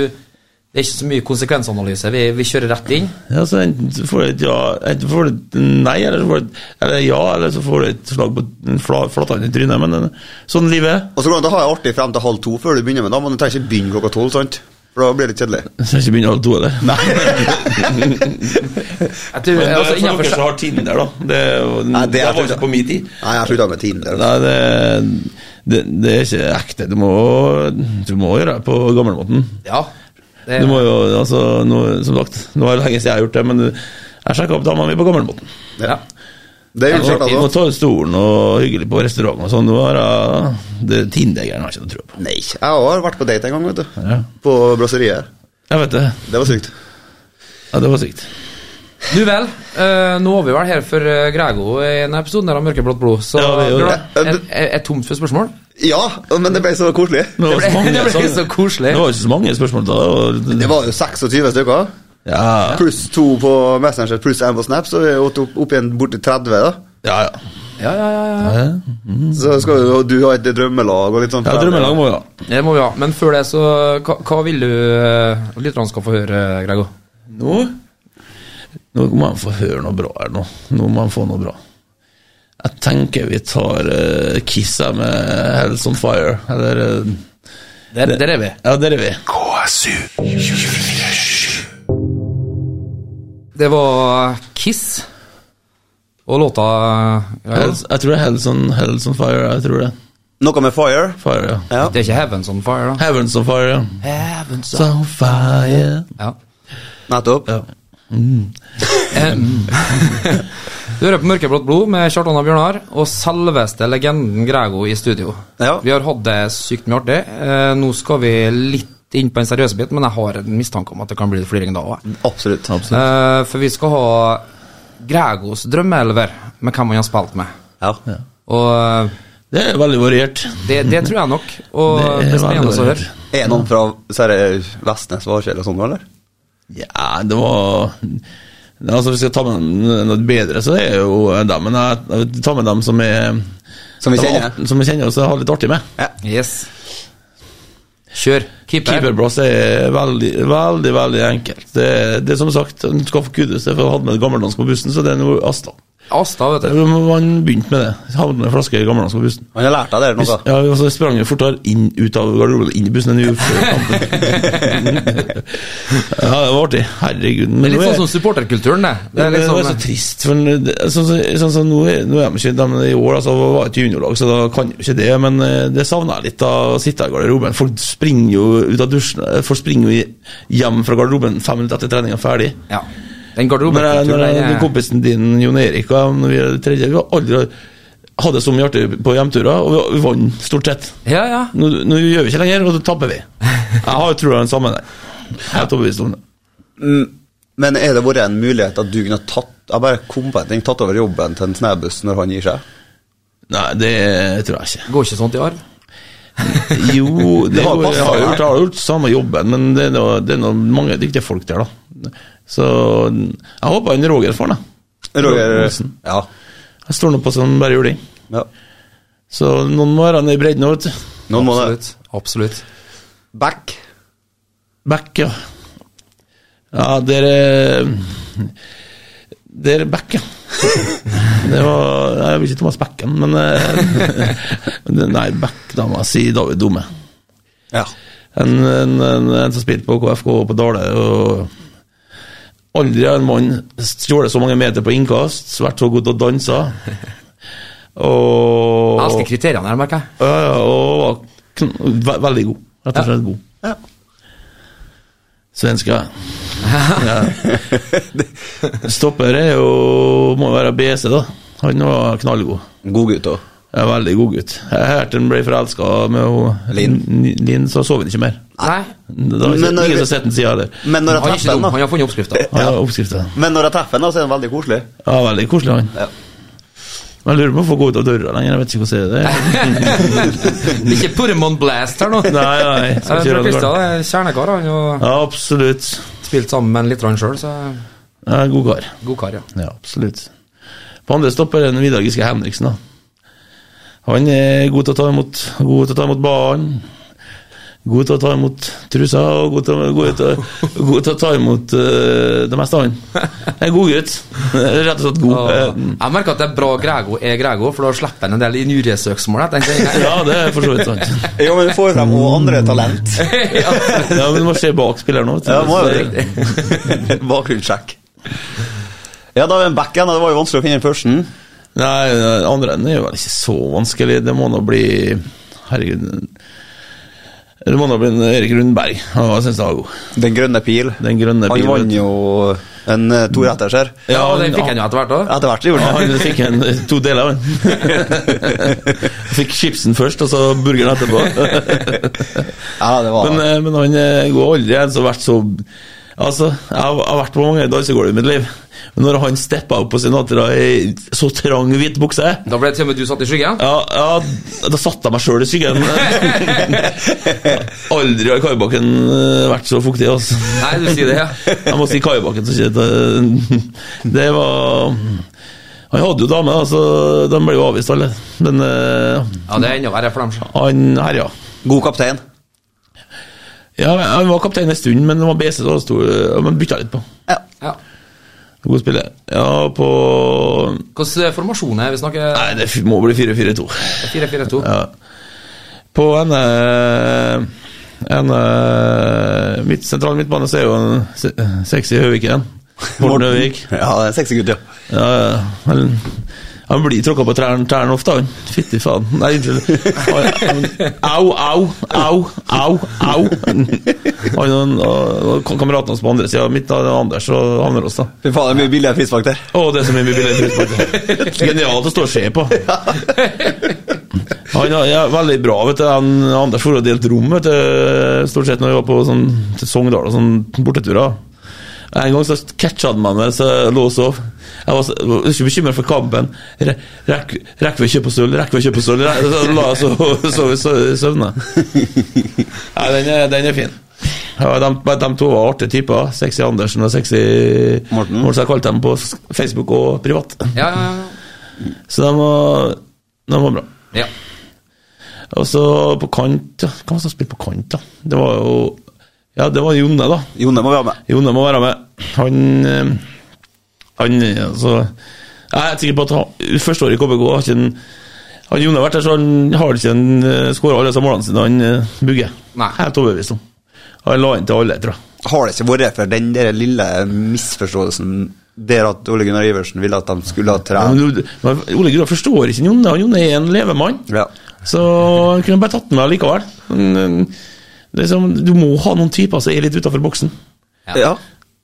Det er ikke så mye konsekvensanalyse. Vi, vi kjører rett inn. Ja, så Enten så får du et ja, enten får du et nei, eller så får du et eller ja, eller så får du et slag på en fla- flathånd i trynet. Men eh, sånn livet er. Og så går det an å ha det artig frem til halv to før du begynner med dem, men du trenger ikke begynne klokka tolv, sant? For da blir det kjedelig. Jeg skal ikke begynne halv to, eller? Nei. Jeg tror, Men det er altså, for innenfor, dere som har Tinder, da. Det, er jo- Nei, det det er var ikke- ikke på min tid. Nei, jeg slutta med Tinder. Nei, det, det, det er ikke ekte. Du må, du må gjøre det på gamlemåten. ja, det, Du må jo, altså, nå, som sagt, nå er det lenge siden jeg har gjort det, men jeg sjekka opp dama mi på gamlemåten. ja. Det er jo klart, Må altså. ta ut stolen og hyggelig på restaurant og sånn. Nå har jeg det Tinder-greiene har jeg ikke noe tro på. Nei, jeg har vært på date en gang, vet du. Ja. På brasseriet. Jeg vet det. Det var sykt. Ja, det var sykt. Du vel, eh, nå er vi vel her for eh, Grego i en episode der av Mørkeblått blod, så Ja, vi gjør det. Bjørn, er, er, er tomt for spørsmål? Ja, men det ble så koselig. Men Det var ble, så mange det ble sånn- så koselig. Det var jo ikke så mange spørsmål da. Og, Det var jo 26 stykker. ja, Pluss to på Messenger, pluss én på Snap, så vi er opp, opp igjen borti 30, da. ja, ja. Ja, ja, ja, ja. ja. Så skal jo du ha et drømmelag og litt sånn. ja drømmelag må jo ha. Det må vi ha. Men før det, så Hva, hva vil du eh, lytterne skal få høre, eh, Grego? Nå Nå må han få høre noe bra her nå. Nå må han få noe bra. Jeg tenker vi tar uh, Kiss her med Hells On Fire, eller eh, Der, der er vi. Ja, der er vi. KSU. Det var Kiss og låta eh, Grego. Hells, jeg tror det er Hells On, Hells on Fire. jeg tror det. Noe med fire. Fire, ja. Ja. Det er ikke Heavens On Fire, da? Heavens On Fire, ja. Heavens It's on fire. Ja. Nettopp. Ja. Eh, du hører på Mørkeblått blod med Kjartan og Bjørnar og selveste legenden Grego i studio. Ja. Vi har hatt det sykt mye artig. Eh, nå skal vi litt inn på den seriøse biten, men jeg har en mistanke om at det kan bli litt fliring da Mm. òg. Absolutt. Eh, for vi skal ha Gregos drømmeelver med hvem han har spilt med. Ja. Og eh, Det er veldig variert. det, det tror jeg nok. Og Det er det blir spennende veldig å rart. høre. Er noen fra så er det Vestnes, Varsel og sånn, eller? Ja, det var Altså, Hvis jeg tar med noe bedre, så er jo dem. Men jeg, jeg tar med dem som er Som vi dem kjenner. at- Som vi kjenner, og så har litt artig med. Yes. Kjør. Keeper. Keeperplass er veldig, veldig veldig enkelt. Det, det er som sagt, du skal få kudos det er for å ha med et gammeldansk på bussen, så det er noe Asta. Asta, vet du. Man begynte med det. Havnet med en flaske gammeldansk på bussen. Han har lært deg det, eller noe? Ja, og så sprang vi fortere inn ut av garderoben, inn i bussen enn vi gjorde før kampen. ja, det var artig. Herregud. Men Det er nå litt er- sånn som supporterkulturen, det. det er sånn, eh, liksom- så trist, for det- sånn som sånn, som nå, er- nå er de ikke de, I år altså, var det ikke juniorlag, så da kan jo ikke det. Men eh, det savner jeg litt da, å sitte i garderoben. Folk springer jo ut av dusjen eh, Folk springer jo i- hjem fra garderoben fem minutter etter treninga ferdig. Ja. Den Når, jeg, eh, når garderobekulturen jeg, den den er- kompisen din, Jon Erik, og jeg, når vi er tredje, vi har aldri hatt det så mye artig på hjemturer, og vi, vi vant stort sett. Ja, ja. Nå, nå gjør vi ikke lenger, og så tapper vi. Jeg har jo trua den samme der. Jeg er helt overbevist om det. Mm. Men er det vært en mulighet at du kunne tatt Jeg bare kom på en ting, tatt over jobben til en snæbuss når han gir seg? Nei, det tror jeg ikke. Går ikke sånt i arv? Jo, det har har jeg passet har deg. gjort, jeg har gjort samme jobben, men det er, noe, det er noe mange dyktige folk der, da. Så jeg håper han Roger får den. da. Roger Olsen. Ja. Jeg står nå på som bare juling. ja. Så noen må være nede i bredden òg, vet du. Noen må det. Absolutt. Absolutt. Back. Back, ja. Ja, der er Der er back, ja. Det var Nei, Jeg vil ikke Thomas Becken, men eh, men Nei, back, da må jeg si David Dumme. Ja. En, en, en, en som spilte på KFK og på Dale. Og aldri har en mann stjålet så mange meter på innkast, vært så god til å danse. Og Jeg elsker kriteriene her, merker jeg. ja, ja, og var kn ve veldig god. Rett og slett god. Ja. Svenske. Ja. Stopper er jo må jo være BC, da. Han var knallgod. God gutt òg. Ja, veldig god gutt. Jeg hørte han ble forelska med hun- Linn. N- Linn, så så vi han ikke mer. Nei. Det har ikke, Men når ingen vi- som har sett den siden heller. Men når Han er jeg ikke treffer dum. den, Han har funnet oppskrifta. Ja, oppskriften. da Men når jeg treffer den, da, så er den veldig koselig. Ja, veldig koselig, han. Ja. Men Jeg lurer på om han får gå ut av døra lenger, jeg vet ikke hvordan det Det er. er ikke put him on blast her nå. Nei, nei, Ja, skal ikke jeg tror gjøre det Kristian galt. er kjernekar. Han har Ja, absolutt. spilt sammen med en litt sjøl, så Ja, god kar. god kar, ja. Ja, absolutt. På andre stopper er den Vidar Giske Henriksen. da. Han er god til å ta imot, god til å ta imot barn. God til å ta imot trusa, og god til, å- god til, å- god til å ta imot eh, det meste av han. En god gutt. Rett og slett god. Og Eh, jeg merker at det er bra Grego er Grego, for da slipper han en del injuriesøksmål. jeg tenker. Ja, det er for så vidt sant. Jo, men du får jo frem også andre talent. Ja, men Du må se bak spilleren nå. vet du. Ja, må jo det. Bakgrunnssjekk. Ja, da er vi en back igjen, og det var jo vanskelig å finne den første. Nei, den andre enden er jo vel ikke så vanskelig. Det må nå bli Herregud. Det må nå bli en Erik Rundberg. Han syns jeg var god. Den grønne pil. Den grønne Han bilen, vet vant du. jo en eh, toretters her. Ja, og det han- fikk han jo etter hvert òg. Etter hvert så gjorde Ja, han det. han fikk en, to deler av den. Fikk chipsen først, og så burgeren etterpå. Ja, det var Men, eh, men han eh, går aldri en som har vært så Altså, jeg har, jeg har vært på mange dansegulv i mitt liv, men når han steppa opp på Sinatra i så trang hvit bukse ja, Da ble det til og med du satt i skyggen. ja, Da satte jeg meg sjøl i skyggen. aldri har Kaibakken eh, vært så fuktig, altså. Nei, du sier det, ja. Jeg må si Kaibakken som sier det. Det var Han hadde jo dame, da, så de ble jo avvist, alle. Men eh, Ja, Det er enda verre for dem. så. han herja. god kaptein. Ja, han var kaptein en stund, men han var BC, så han sto, men bytta litt på. Ja. God spiller. Ja, på Hvilken formasjon er det? vi snakker? Nei, det f- må bli 4-4-2. 4-4-2. Ja. På en, eh, en eh, midt, sentral midtbane så er jo en se- sexy Høviken. Morten Høvik. Ja, det er en sexy gutt, ja. Ja, ja. han, han blir tråkka på trærne trærne ofte, han. Fytti faen. Nei, unnskyld. Han- han- Au, au, au, au, au. Han og- og og kameraten hans på andre sida, mitt da, det er Anders og Hammerås, da. Fy faen, det er mye billigere frispark der. Å, det er så mye mye billigere frispark. Genialt å stå og se på. Han er ja, veldig bra, vet du. Han, Anders for å delt rom, vet du. Stort sett når vi var på sånn, til Sogndal og sånn borteturer. En gang så catcha han meg mens jeg lå og sov. Jeg var, så, var ikke bekymret for kampen. Re, rekk, rekker vi å kjøpe oss øl? Rekker vi å kjøpe oss øl? Re- Så la jeg så, så, så, søvne. Nei, den er, den er fin. Ja, de, de to var artige typer. Sexy Andersen og sexy Morten. Morten som jeg kalte dem på Facebook og privat. Ja, ja, ja. Så de var, de var bra. Ja. Og så på kant ja. Hvem var det som spilte på kant, da? Det var jo Ja, det var Jonne, da. Jonne må være med. Jonne må være med. Han eh, Han eh, altså Jeg er helt sikker på at han første året i KBK har ikke en han Jonne har vært der, så han har ikke en skåra alle disse målene sine han eh, bugger. Nei. Helt overbevist om. Han la inn til alle, tror jeg. Har det ikke vært for den der lille misforståelsen der at Ole Gunnar Iversen ville at de skulle ha Ja. trent? Men, du- men Ole Gunnar forstår ikke Jonne. og Jonne er en levemann. Ja. Så han kunne bare tatt den med likevel. Men, men, det er som- du må ha noen typer som er litt utafor boksen. ja.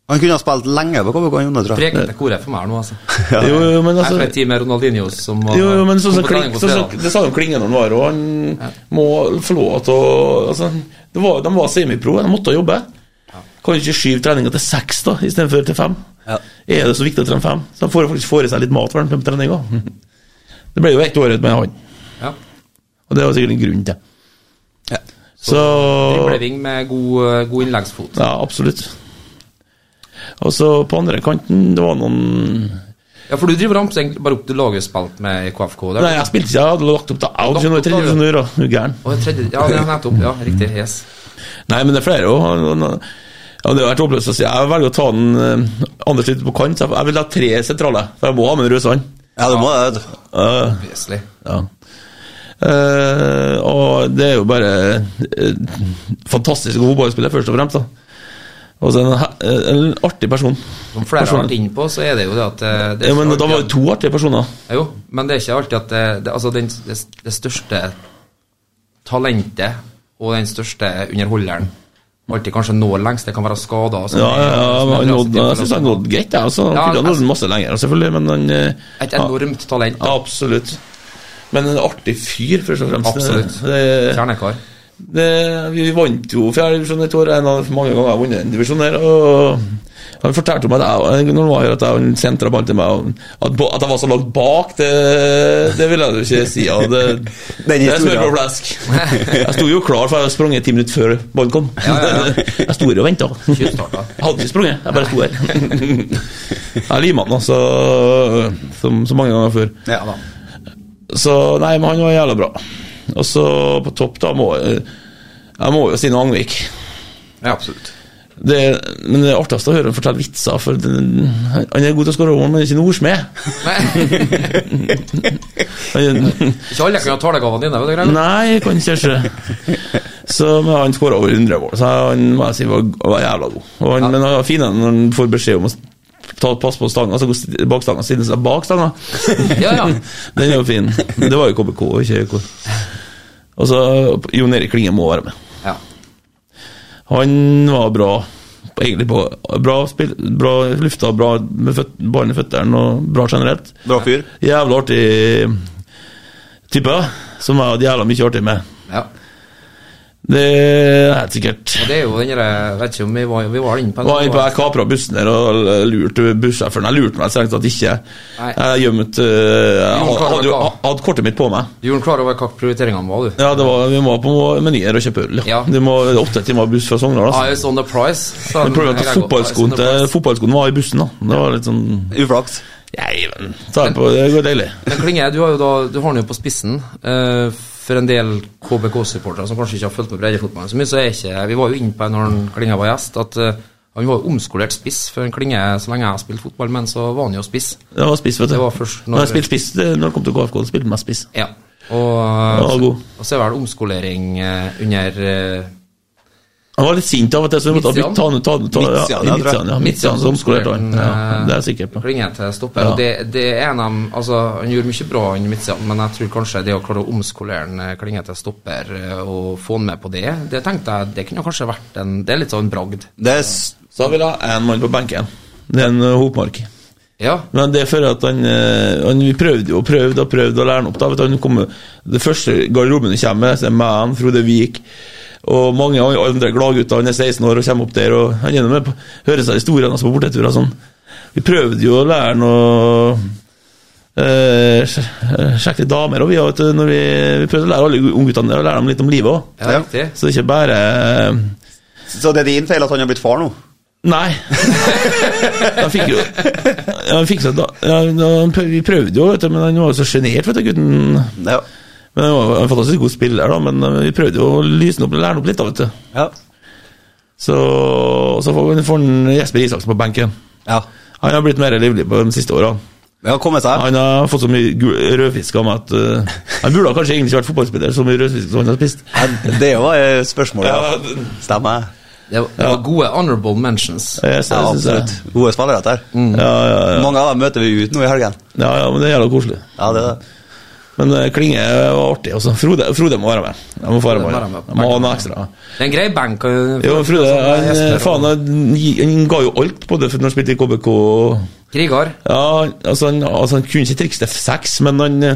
Han kunne ha spilt lenge på KBK, Jonne, tror jeg. Preken til koret for meg her nå, altså. Jo, eh, jo, men Jeg altså er fra et team med Ronaldinho som var- jo, jo, men sånn som kom på trening Kling, på sånn, som- fredag. Det sa jo Klingen han var, og han må få lov til å altså, det var, De var semipro, de måtte jobbe. Kan jo ikke skyve treninga til seks da, istedenfor til fem. Er det så viktig å trene fem? Så de får jo faktisk få i seg litt mat hver på treninga. Det ble jo ett år med han. Ja. Og det var sikkert en grunn til. Ja. Så Dribleving med god, god innleggsfot. Ja, absolutt. Og så på andre kanten, det var noen Ja, for du driver ramser egentlig bare opp til laget du spilte med i KFK. Der. Nei, jeg spilte ikke, jeg hadde lagt opp til out, skjønner du, Lagt opp til tredje divisjonør, og du er gæren. Å, tredje, ja, det er nettopp. Ja, riktig. Yes. Nei, men det er flere òg. Ja, det har vært oppløst å si. Jeg velger å ta den eh, Anders litt på kant. så Jeg jeg vil ha tre sentrale. For jeg må ha med en Røsand. Ja, det må jeg, vet du. Eh, Vesentlig. ja. Eh, og det er jo bare eh, fantastisk god fotballspiller, først og fremst. da. Og så en, he- eh, en artig person. Som flere har Personlig. vært inne på, så er det jo det at eh, det er Ja, men ikke Da var alltid det to artige personer. at- Jo, men det er ikke alltid at det, det, altså den, det, det største talentet og den største underholderen alltid kanskje når lengst. Det kan være skader og sånt. Ja, ja, ja, Som er han nådde, drastisk. jeg syns han nådde greit, jeg. Altså, han Ja, kunne ha nådd altså- den masse lenger, selvfølgelig, men han eh, Et enormt talent. ja, Absolutt. Men en artig fyr, først og fremst. Absolutt. Det- Kjernekar. det, vi vant jo fjerde divisjon et år, en av mange ganger jeg har vunnet en divisjon der. Og han fortalte meg at jeg, når han var her, at jeg sentra ballen til meg, og at, ba- at jeg var så langt bak, det, det ville jeg jo ikke si. Og det, Den det er smør på historien. flesk. Jeg sto jo klar, for jeg hadde sprunget ti minutter før ballen kom. Jeg sto her og venta. Jeg Kyststarta. hadde ikke sprunget, jeg bare sto her. Jeg limet den, altså, som så mange ganger før. Ja da. Så nei, men han var jævla bra. Og så på topp, da, må jeg Jeg må jo si noe Angvik. Ja, absolutt. Det, men det er artigst å høre han fortelle vitser, for den, han han er god til å skåre over, men han er ikke noen ordsmed. Nei, Han- ikke alle kan ha talegavene dine, vet du greit? Nei, kan ikke se. Så men han skåra over 100 mål, så han må jeg si var, var jævla god. Og han, Men han var fin når han får beskjed om å ta pass på stanga, så går bakstanga stiller seg bak stanga. Ja, ja. Den er jo fin. Det var jo KBK, ikke K. Og så Jon Erik Klinge må være med. Ja. Han var bra. Egentlig på, bra, spill, bra lufta, bra med føt, ballen i føttene og bra generelt. Bra fyr. Jævla artig type, som jeg hadde jævla mye artig med. ja. Det er helt sikkert. Og det er jo den derre Vet ikke om vi var, vi var inne på en- Var inne på Jeg kapra bussen der og lurte bussjåføren. Jeg lurte meg strengt tatt ikke. Nei. Jeg gjemte øh, Jeg Jon Karl hadde, jo- var jeg hadde kortet mitt på meg. Du gjorde klar over hva prioriteringene var, du. Ja, det var, Vi må på menyer og kjøpe øl. Ja. Ja. Det må åtte timer buss fra Sogndal. Altså. Eyes on the prize. sa Men Problemet er Gregor. at Eyes on fotballskoen, til, the prize. fotballskoen var i bussen, da. Det var litt sånn Uflaks. Nei, men ta den på, det går deilig. Men Klinge, du har jo da Du har den jo på spissen. eh, for en del KBK-supportere som kanskje ikke har fulgt med breddefotballen så mye, så er ikke Vi var jo inne på det når han Klinge var gjest, at eh, han var jo omskolert spiss for en Klinge så lenge jeg har spilt fotball, men så var han jo spiss. Det var spiss, vet du. Det var først når- når jeg spilte spiss, det- når jeg kom til KFK, spilte jeg mest spiss. Ja. Og, eh, Han var og, god. så er vel omskolering eh, under eh, Han var litt sint av og til, så vi måtte Midtsidan? bytte ta han ut. ta han ut, ta- ja, Midtsidan, i ja, tror jeg. Midtsidan, ja. Midtsidan som skolerte han. Ja, det er jeg sikker på. Klinge eh, til stopper. Ja. Og det, det er en av dem- altså, Han gjorde mye bra i midtsiden, men jeg tror kanskje det å klare å omskolere en, eh, Klinge til stopper eh, og få han med på det, det tenkte jeg det kunne kanskje vært en Det er litt sånn bragd. Det er s- Så vil jeg ha én mann på benken. Det er en ø, hopmark. Ja. Men det er for at han, ø, han Vi prøvde jo og prøvde og prøvde å lære han opp. da, vet du, han kom, Det første garderoben du kommer med, så er meg, Frode Vik og mange andre gladgutter. Han er 16 år og kommer opp der, og han er nå med på hører seg historiene hans på borteturer og sånn. Vi prøvde jo å lære han å eh, sj- sjekke litt damer òg, vi, vet du, når vi, vi prøvde å lære alle ungguttene det, og lære dem litt om livet òg. Ja, Ja. riktig. Så det er ikke bare eh, Så det er din feil at han har blitt far nå? Nei. Han fikk jo han fikk så da, ja, han prøv, Vi prøvde jo, vet du, men han var jo så sjenert, vet du, gutten. Ja. Men Han var en fantastisk god spiller, da, men eh, vi prøvde jo å lyse han opp og lære han opp litt. da, vet du. Ja. Så, og så får får han Jesper Isaksen på benken. ja. Han har blitt mer livlig på de siste årene. Det har kommet seg. Han har fått så mye gul- rødfisk av meg at eh, Han burde ha kanskje egentlig ikke vært fotballspiller, så mye rødfisk som han har spist. Ja, det var eh, spørsmålet. Ja. Stemmer. Det, var- det var gode honorable mentions. Eh, Ja, så det synes jeg- absolutt. Gode spillere der. Ja, ja, Mm. ja. Mange av dem møter vi ut nå i helgen. ja, ja, men det er jævla koselig. Ja, det er det. Men eh, Klinge var artig også. Frode, Frode må være med. Jeg må få være Frode med. må være med. Jeg må ha noe ekstra. Det er en grei bank. og- Jo, Frode han, eh, Jesper, faen, han, gi- han ga jo alt på det for når han spilte i KBK. Krigar. Ja, altså han, altså han kunne ikke trikse til seks, men han eh,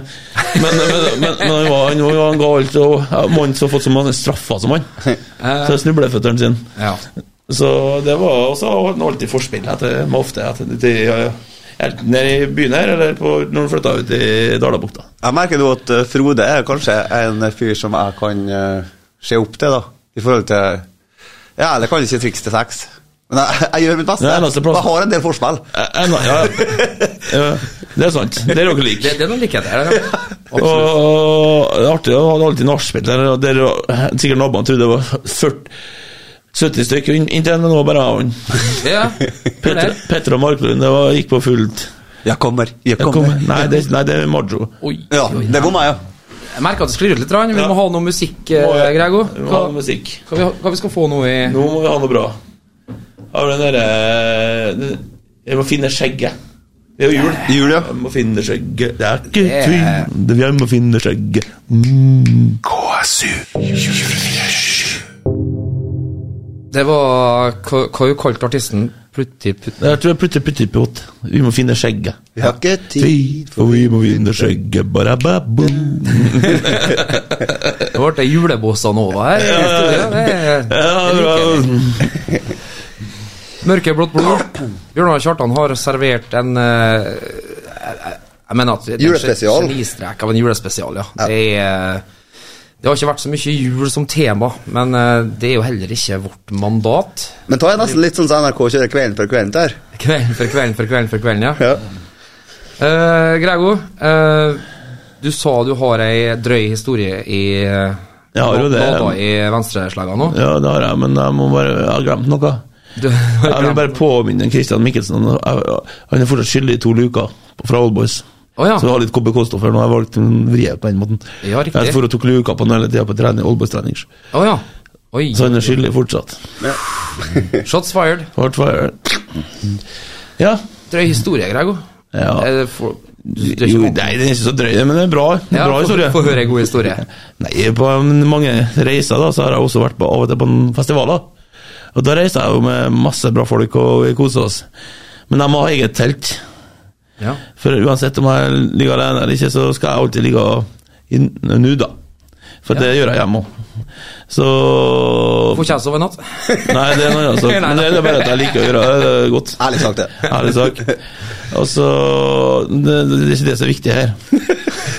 Men, men, men, men han, var, han, var- han ga alt, og ja, mannen som har fått så mange straffer som han. Så snubleføtteren sin. Ja. Så det var også han alltid forspill etter, med ofte etter, til, ja, ja. Enten nede i byen her, eller på, når han flytta ut i Dalabukta. Jeg merker nå at eh, Frode er kanskje en fyr som jeg kan eh, se opp til, da. I forhold til Ja, eller kan ikke triks til sex. Men jeg, jeg gjør mitt beste. Ja, neste plass. jeg har en del forspill. Eh, eh, nei, Ja, ja. Det er sant. Det er dere like. Det, det er noen likheter her, ja. Og, og det er artig, jeg hadde alltid nachspiel der, og der og- sikkert naboene trodde det var 40 70 stykker inn- inntil en, men nå var bare jeg og han. Ja. Petter, Petter og Marklund, det var, gikk på fullt. Jeg kommer. Jeg Jeg kommer. kom, nei, det, nei, det er Majo. Oi, Ja, oi, det går meg, ja. Jeg merker at det sklir ut litt. rann. Vi Ja. må ha noe musikk, eh, Grego. Vi må Hva, ha musikk. hva, vi, hva vi skal få nå i Nå må vi ha noe bra. Har du den derre den- Jeg må finne skjegget. Det er jo jul. Jul, ja. Jeg må finne skjegget. Det er ikke Det er- tvil. Det- Jeg må finne skjegget. Mm. KSU. Det var Hva hva har du kalt artisten? Plutti Putti Jeg tror jeg putter puttepott. Vi må finne skjegget. Vi har ikke Tid, for vi må vinne skjegget. Barababum. Det ble det julebossa nova her. Ja, det er- Ja, bra. Mørkeblått blod. Bjørnar Kjartan har servert en eh, jeg- Jeg mener at det er en Julespesial. Genistrek av en julespesial, ja. Det, er, det har ikke vært så mye jul som tema, men eh, det er jo heller ikke vårt mandat. Men ta jeg nesten litt sånn som NRK kjører Kvelden for kvelden der. Kvelden for kvelden for kvelden for kvelden, ja. Ja. Eh, Grego, eh, du sa du har ei drøy historie i eh, Jeg har jo det. Nada i venstreslegga nå. ja, det har jeg, men jeg må bare Jeg har glemt noe. Du, Jeg vil bare påminne Christian Mikkelsen om- jeg- Han er fortsatt skyldig i to luker fra Old Boys. Å ja. Så jeg har litt KBK-stoff her nå. Jeg valgte en vrie på den måten. Ja, riktig. Jeg for og tok luka på den hele tida på trening, Old Boys-trening. Å ja. Oi. Så han er skyldig fortsatt. Shots fired. Hard fire. Ja. Drøy historie, Grego. ja. Er det for, du, du er Jo, ikke nei, det er ikke så drøy, men det er bra. Det er Ja, bra få- historie. få høre en god historie. Nei, på mange reiser da, så har jeg også vært på, av og til på en festivaler. Og da reiser jeg jo med masse bra folk og vi koser oss. Men jeg må ha eget telt. ja. For uansett om jeg ligger alene eller ikke, så skal jeg alltid ligge i n- nu, da. For det gjør jeg hjemme òg. Så Får ikke jeg sove i natt? Nei, det er noe annet. sak. Men det er bare at jeg liker å gjøre det er godt. Ærlig sagt, det. Ærlig sak. Og så det, det er ikke det som er viktig her.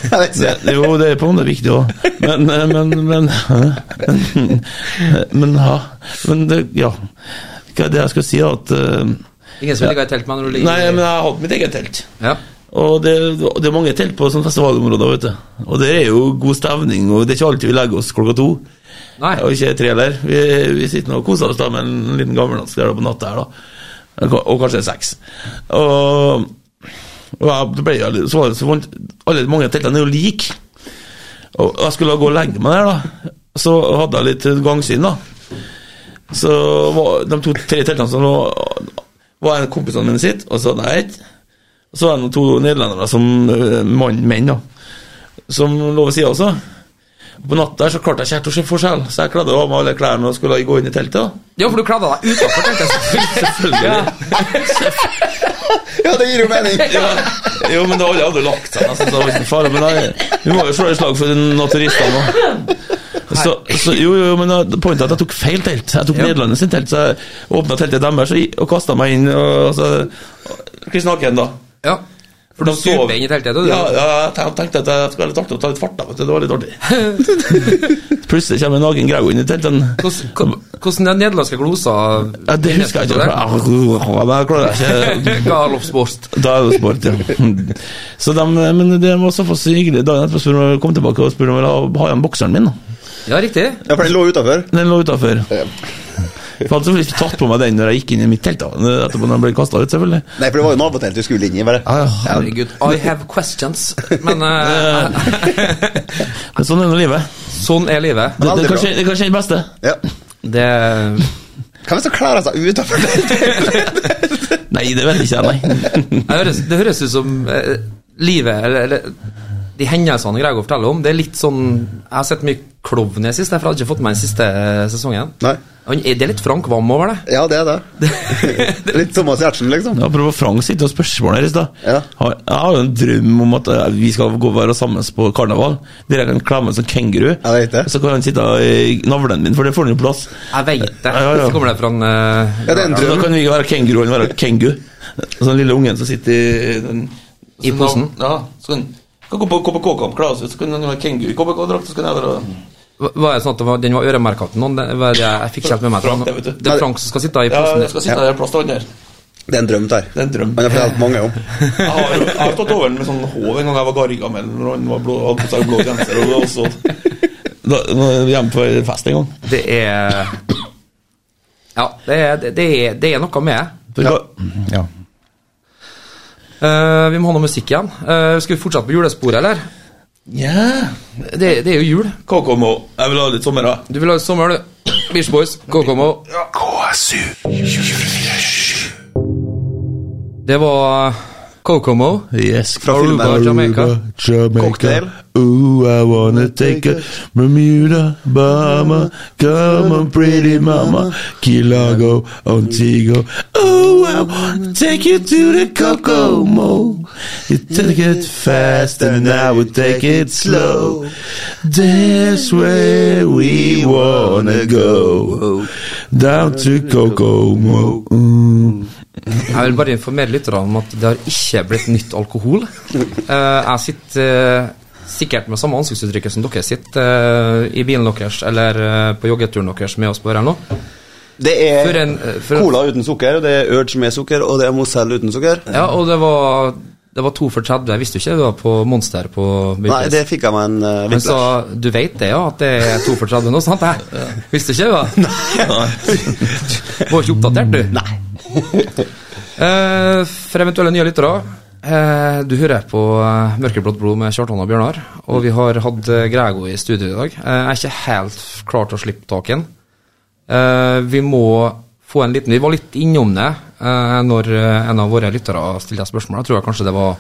Jeg vet Det, ikke. jo, det er på om det er viktig òg, men eh, Men Men, men, men, ja. men det, ja. Hva er det jeg skal si, at eh, Ingen som vil ligge i telt med når du ligger Nei, i- men jeg har hatt mitt eget telt. ja. Og det, det er mange telt på sånne festivalområder, vet du. Og det er jo god stemning, og det er ikke alltid vi legger oss klokka to. Nei. Og ikke tre heller. Vi, vi sitter nå og koser oss da med en liten gammeldansk der da på natta her, da. Og- Og kanskje seks. Og, og jeg ble jo litt- så var det så vondt. Alle mange teltene er jo like. Og jeg skulle da gå og legge meg der, da. Så hadde jeg litt gangsyn, da. Så var de to-tre teltene som lå Var en kompisene mine sitt, og så hadde jeg ett. Og så var det noen to nederlendere som øh, mann, menn, da. Som lå ved sida også. På natta så klarte jeg ikke helt å se forskjell, så jeg kledde av meg alle klærne og skulle gå inn i teltet. da. Ja, for du kladda deg utafor, tenkte jeg. Selvfølgelig. Ja, det gir jo mening. Ja. Jo, men det alle hadde jo lagt seg, nesten, så det var ikke noe farlig. Men jeg, vi må jo slå et slag for naturistene òg. Så, så, jo, jo, jo, men da- pointet er at jeg tok feil telt. Jeg tok Ja. Nederlandet sin telt, så jeg åpna teltet deres og, og kasta meg inn. Og, og så, Hvordan naken, da? Ja. For du De sov- stuper inn i teltet, du. Ja, ja, jeg ten- tenkte at jeg skulle være litt artig å ta litt fart, da. vet du, Det var litt artig. Plutselig kommer en naken grau inn i teltet. Hvordan- hvordan- Hvordan den nederlandske glosa Ja, det husker jeg ikke. Men jeg klarer ikke Galopsborst. Da er det sport, ja. Så de, men det var såpass hyggelig. Dagen etterpå spurte de- kom tilbake og spurte om jeg ville ha- ha igjen bokseren min. da. Ja, riktig. Ja, for den lå utafor. Den lå utafor. Jeg hadde selvfølgelig ikke tatt på meg den når jeg gikk inn i mitt telt. da, etterpå når jeg ble kastet ut, selvfølgelig. Nei, for det var jo nabotelt du skulle inn i. bare. Ja, ja. Herregud, I have questions. Men eh, Men sånn er nå livet. sånn er livet. Det, det, Veldig er bra. kanskje, det er kanskje den beste. Ja. Det Hvem er det som kler seg utafor der? Nei, det vet jeg ikke, nei. Det høres, det høres ut som eh, livet eller, eller de hendelsene Grego forteller om, det er litt sånn Jeg har sett mye klovn i det siste, for jeg hadde ikke fått med den siste eh, sesongen. Nei. Han, er- det er litt Frank Wam over det. Ja, det er det. Litt Thomas Giertsen, liksom. Apropos Frank sitt og spørsmål her i stad. Ja. Har- Jeg har jo en drøm om at eh, vi skal gå og være sammen på karneval. Der jeg kan klemme en sånn kenguru. Ja, det er det. Så kan han sitte i navlen min, for det får han jo plass. Jeg veit det. Ja, ja, ja. Så kommer det fra en eh, Ja, det er en Så da drøm. kan vi ikke være kenguru, han være kengu. Så den lille ungen som sitter i den, I så posen. da- Ja, så kan kan gå på KBK-kamp, kle av seg ut, så kan han være kengu i KBK-drakt, så kan jeg være Var- Var det sånn at det var, den var øremerka til noen? Det var det jeg fikk ikke helt med meg. Frank, det vet du. Det er Frank som skal sitte i Ja, posen. jeg skal sitte der i plass til han der. Det er en drøm, der. Det er en drøm. Han har fortalt mange om. Jeg har, jeg har tatt over den med sånn håv en gang jeg var gargamel og han var blå, hadde på seg blå genser. Og det var også da, da var jeg hjemme på fest en gang. Det er Ja, det er, det- det er, det er noe med det. Ja. Eh, vi må ha noe musikk igjen. Eh, skal vi fortsette på julesporet, eller? Det, det er jo jul. Kokomo. Jeg vil ha litt sommer, da. Du vil ha sommer, du. Beach Boys, KKMO. KSU. Det var eh, KKMO. Yes. Fra Aruba, filmen Jamaica. Jamaica. Cocktail. Ooh, I wanna take a Bermuda, Bahama. Come on, pretty mama. Key Largo, Antigua. Ooh, I wanna take you to the Kokomo. You take it fast and I will take it slow. That's where we wanna go. Down to Kokomo. Mm. Jeg vil bare informere lytterne om at det har ikke blitt nytt alkohol. Eh, jeg sitter eh, sikkert med samme ansiktsuttrykket som dere sitter eh, i bilen deres eller eh, på joggeturen deres med oss på her nå. Det er For en, eh, for- cola uten sukker, det er Urge med sukker, og det er Mozell uten sukker. Ja, og det var, det var to for 30. Jeg visste jo ikke det var på Monster på Nei, Byplass. det fikk jeg meg en uh, Men så, du vet det, ja, at det er to for 30 nå, sant? Jeg visste ikke det. da? Var ikke oppdatert, du? Nei. For eventuelle nye lyttere, eh, du hører på eh, Mørkeblått blod med Kjartan og Bjørnar, og vi har hatt eh, Grego i studio i dag. Eh, Jeg er ikke helt klar til å slippe tak i han. Eh, vi må få en liten Vi var litt innom det eh, når eh, en av våre lyttere stilte spørsmål. Jeg tror jeg kanskje det var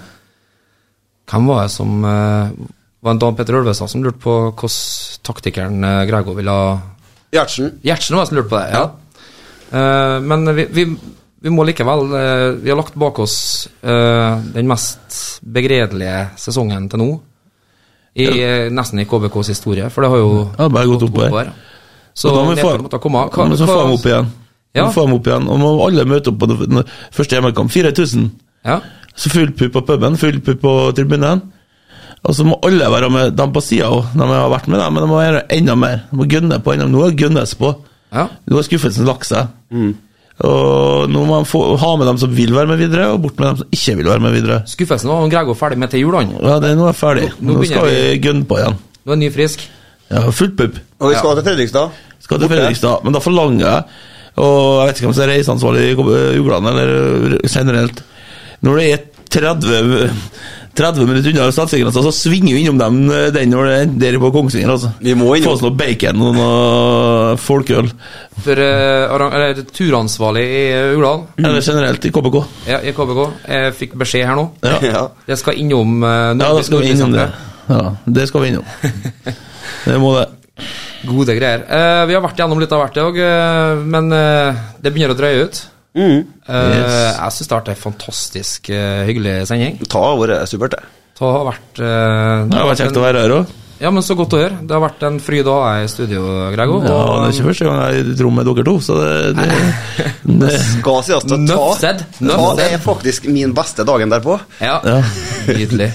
Hvem var det som eh, var en Dan Petter Ølvestad som lurte på hvordan taktikeren eh, Grego ville ha Gjertsen. Gjertsen var det som lurte på det. ja. Eh, men vi, vi, vi må likevel eh, Vi har lagt bak oss eh, den mest begredelige sesongen til nå. I, eh, Nesten i KBKs historie, for det har jo Ja, bare gått oppover. Så Og da må vi få- nedturen måtte komme. Da må vi få dem opp igjen. Ja. Ja. Få dem opp igjen. Og må alle møte opp på det- den første hjemmekamp. 4000. Ja. Så full pupp på puben, full pupp på tribunen. Og så må alle være med dem på sida òg. De har vært med, dem, men de må være enda mer. De må gunne på enda Nå er gunnes på. Ja. Nå har skuffelsen lagt seg. Og nå må de få, ha med dem som vil være med videre, og bort med dem som ikke vil være med videre. Skuffelsen var han Grego ferdig med til jul, han. Ja, det, nå er jeg ferdig. Nå- nå Nå, skal begynner vi gunne på igjen. Nå er han ny frisk. Ja, fullt pupp. Og vi skal til Fredrikstad. Skal til Fredrikstad, men da forlanger jeg Og jeg vet ikke om det er reiseansvarlig i Kob- eh, Jugland eller eh, generelt Når det er 30 30 minutter unna statssikkerhet, så svinger vi innom dem eh, den når det er der på Kongsvinger. Altså. Vi må innom. Få oss noe bacon og noe folkeøl. For eh, arran- eller, turansvarlig i Ulan, Eller generelt i KBK. ja, i KBK, jeg fikk beskjed her nå. Ja, ja Ja. Det skal innom eh, da Norges skal vi innom det. Nordbysenteret. Ja, det skal vi innom. Det må det. Gode greier. Eh, vi har vært gjennom litt av hvert i dag, eh, men eh, det begynner å drøye ut. Eh, Mm. Yes. Jeg syns det har vært ei fantastisk eh, hyggelig sending. Ta har vært supert, det. Det har vært eh, Det har vært kjekt å være her òg. Ja, men så godt å høre. Det har vært en fryd å ha deg i studio, Grego. Ja, det er Og, ikke første gang jeg er i et rom med dere to, så det, det, det Skal sies at ta, Nuff said. Nuff ta said. er faktisk min beste dagen derpå. Ja, Ja. nydelig.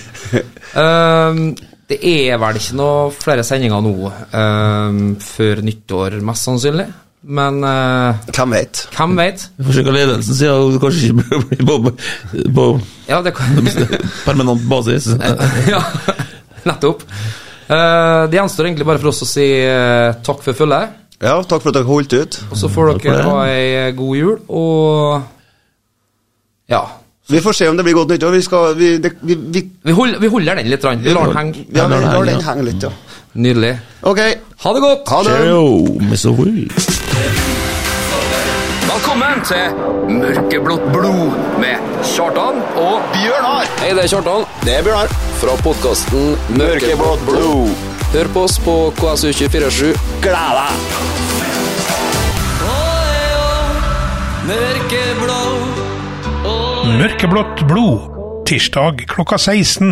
Ehm, det er vel ikke noe flere sendinger nå ehm, før nyttår, mest sannsynlig. Men eh, Hvem vet? hvem veit? Forsøker ledelsen sier at du kanskje ikke bør bli på, på Ja, det kan permanent basis. Ja, nettopp. Eh, det gjenstår egentlig bare for oss å si eh, takk for følget. Ja, takk for at dere holdt ut. Og så får Takk for dere det. ha ei god jul, og Ja. Vi får se om det blir godt nyttår. Vi skal Vi, det, vi, vi, Vi, hold, vi holder den litt, rann. vi lar den henge. ja, Ja, vi det er lar det, den ja. henge litt, ja. Nydelig. Ok, Ha det godt! ha det. Cheerio, Mr. Will. Velkommen til Mørkeblått blod med Kjartan og Bjørnar. Hei, det er Kjartan. Det er Bjørnar. Fra podkasten Mørkeblått blod. Hør på oss på KSU247. Gled deg! Mørkeblått blod. Tirsdag klokka 16.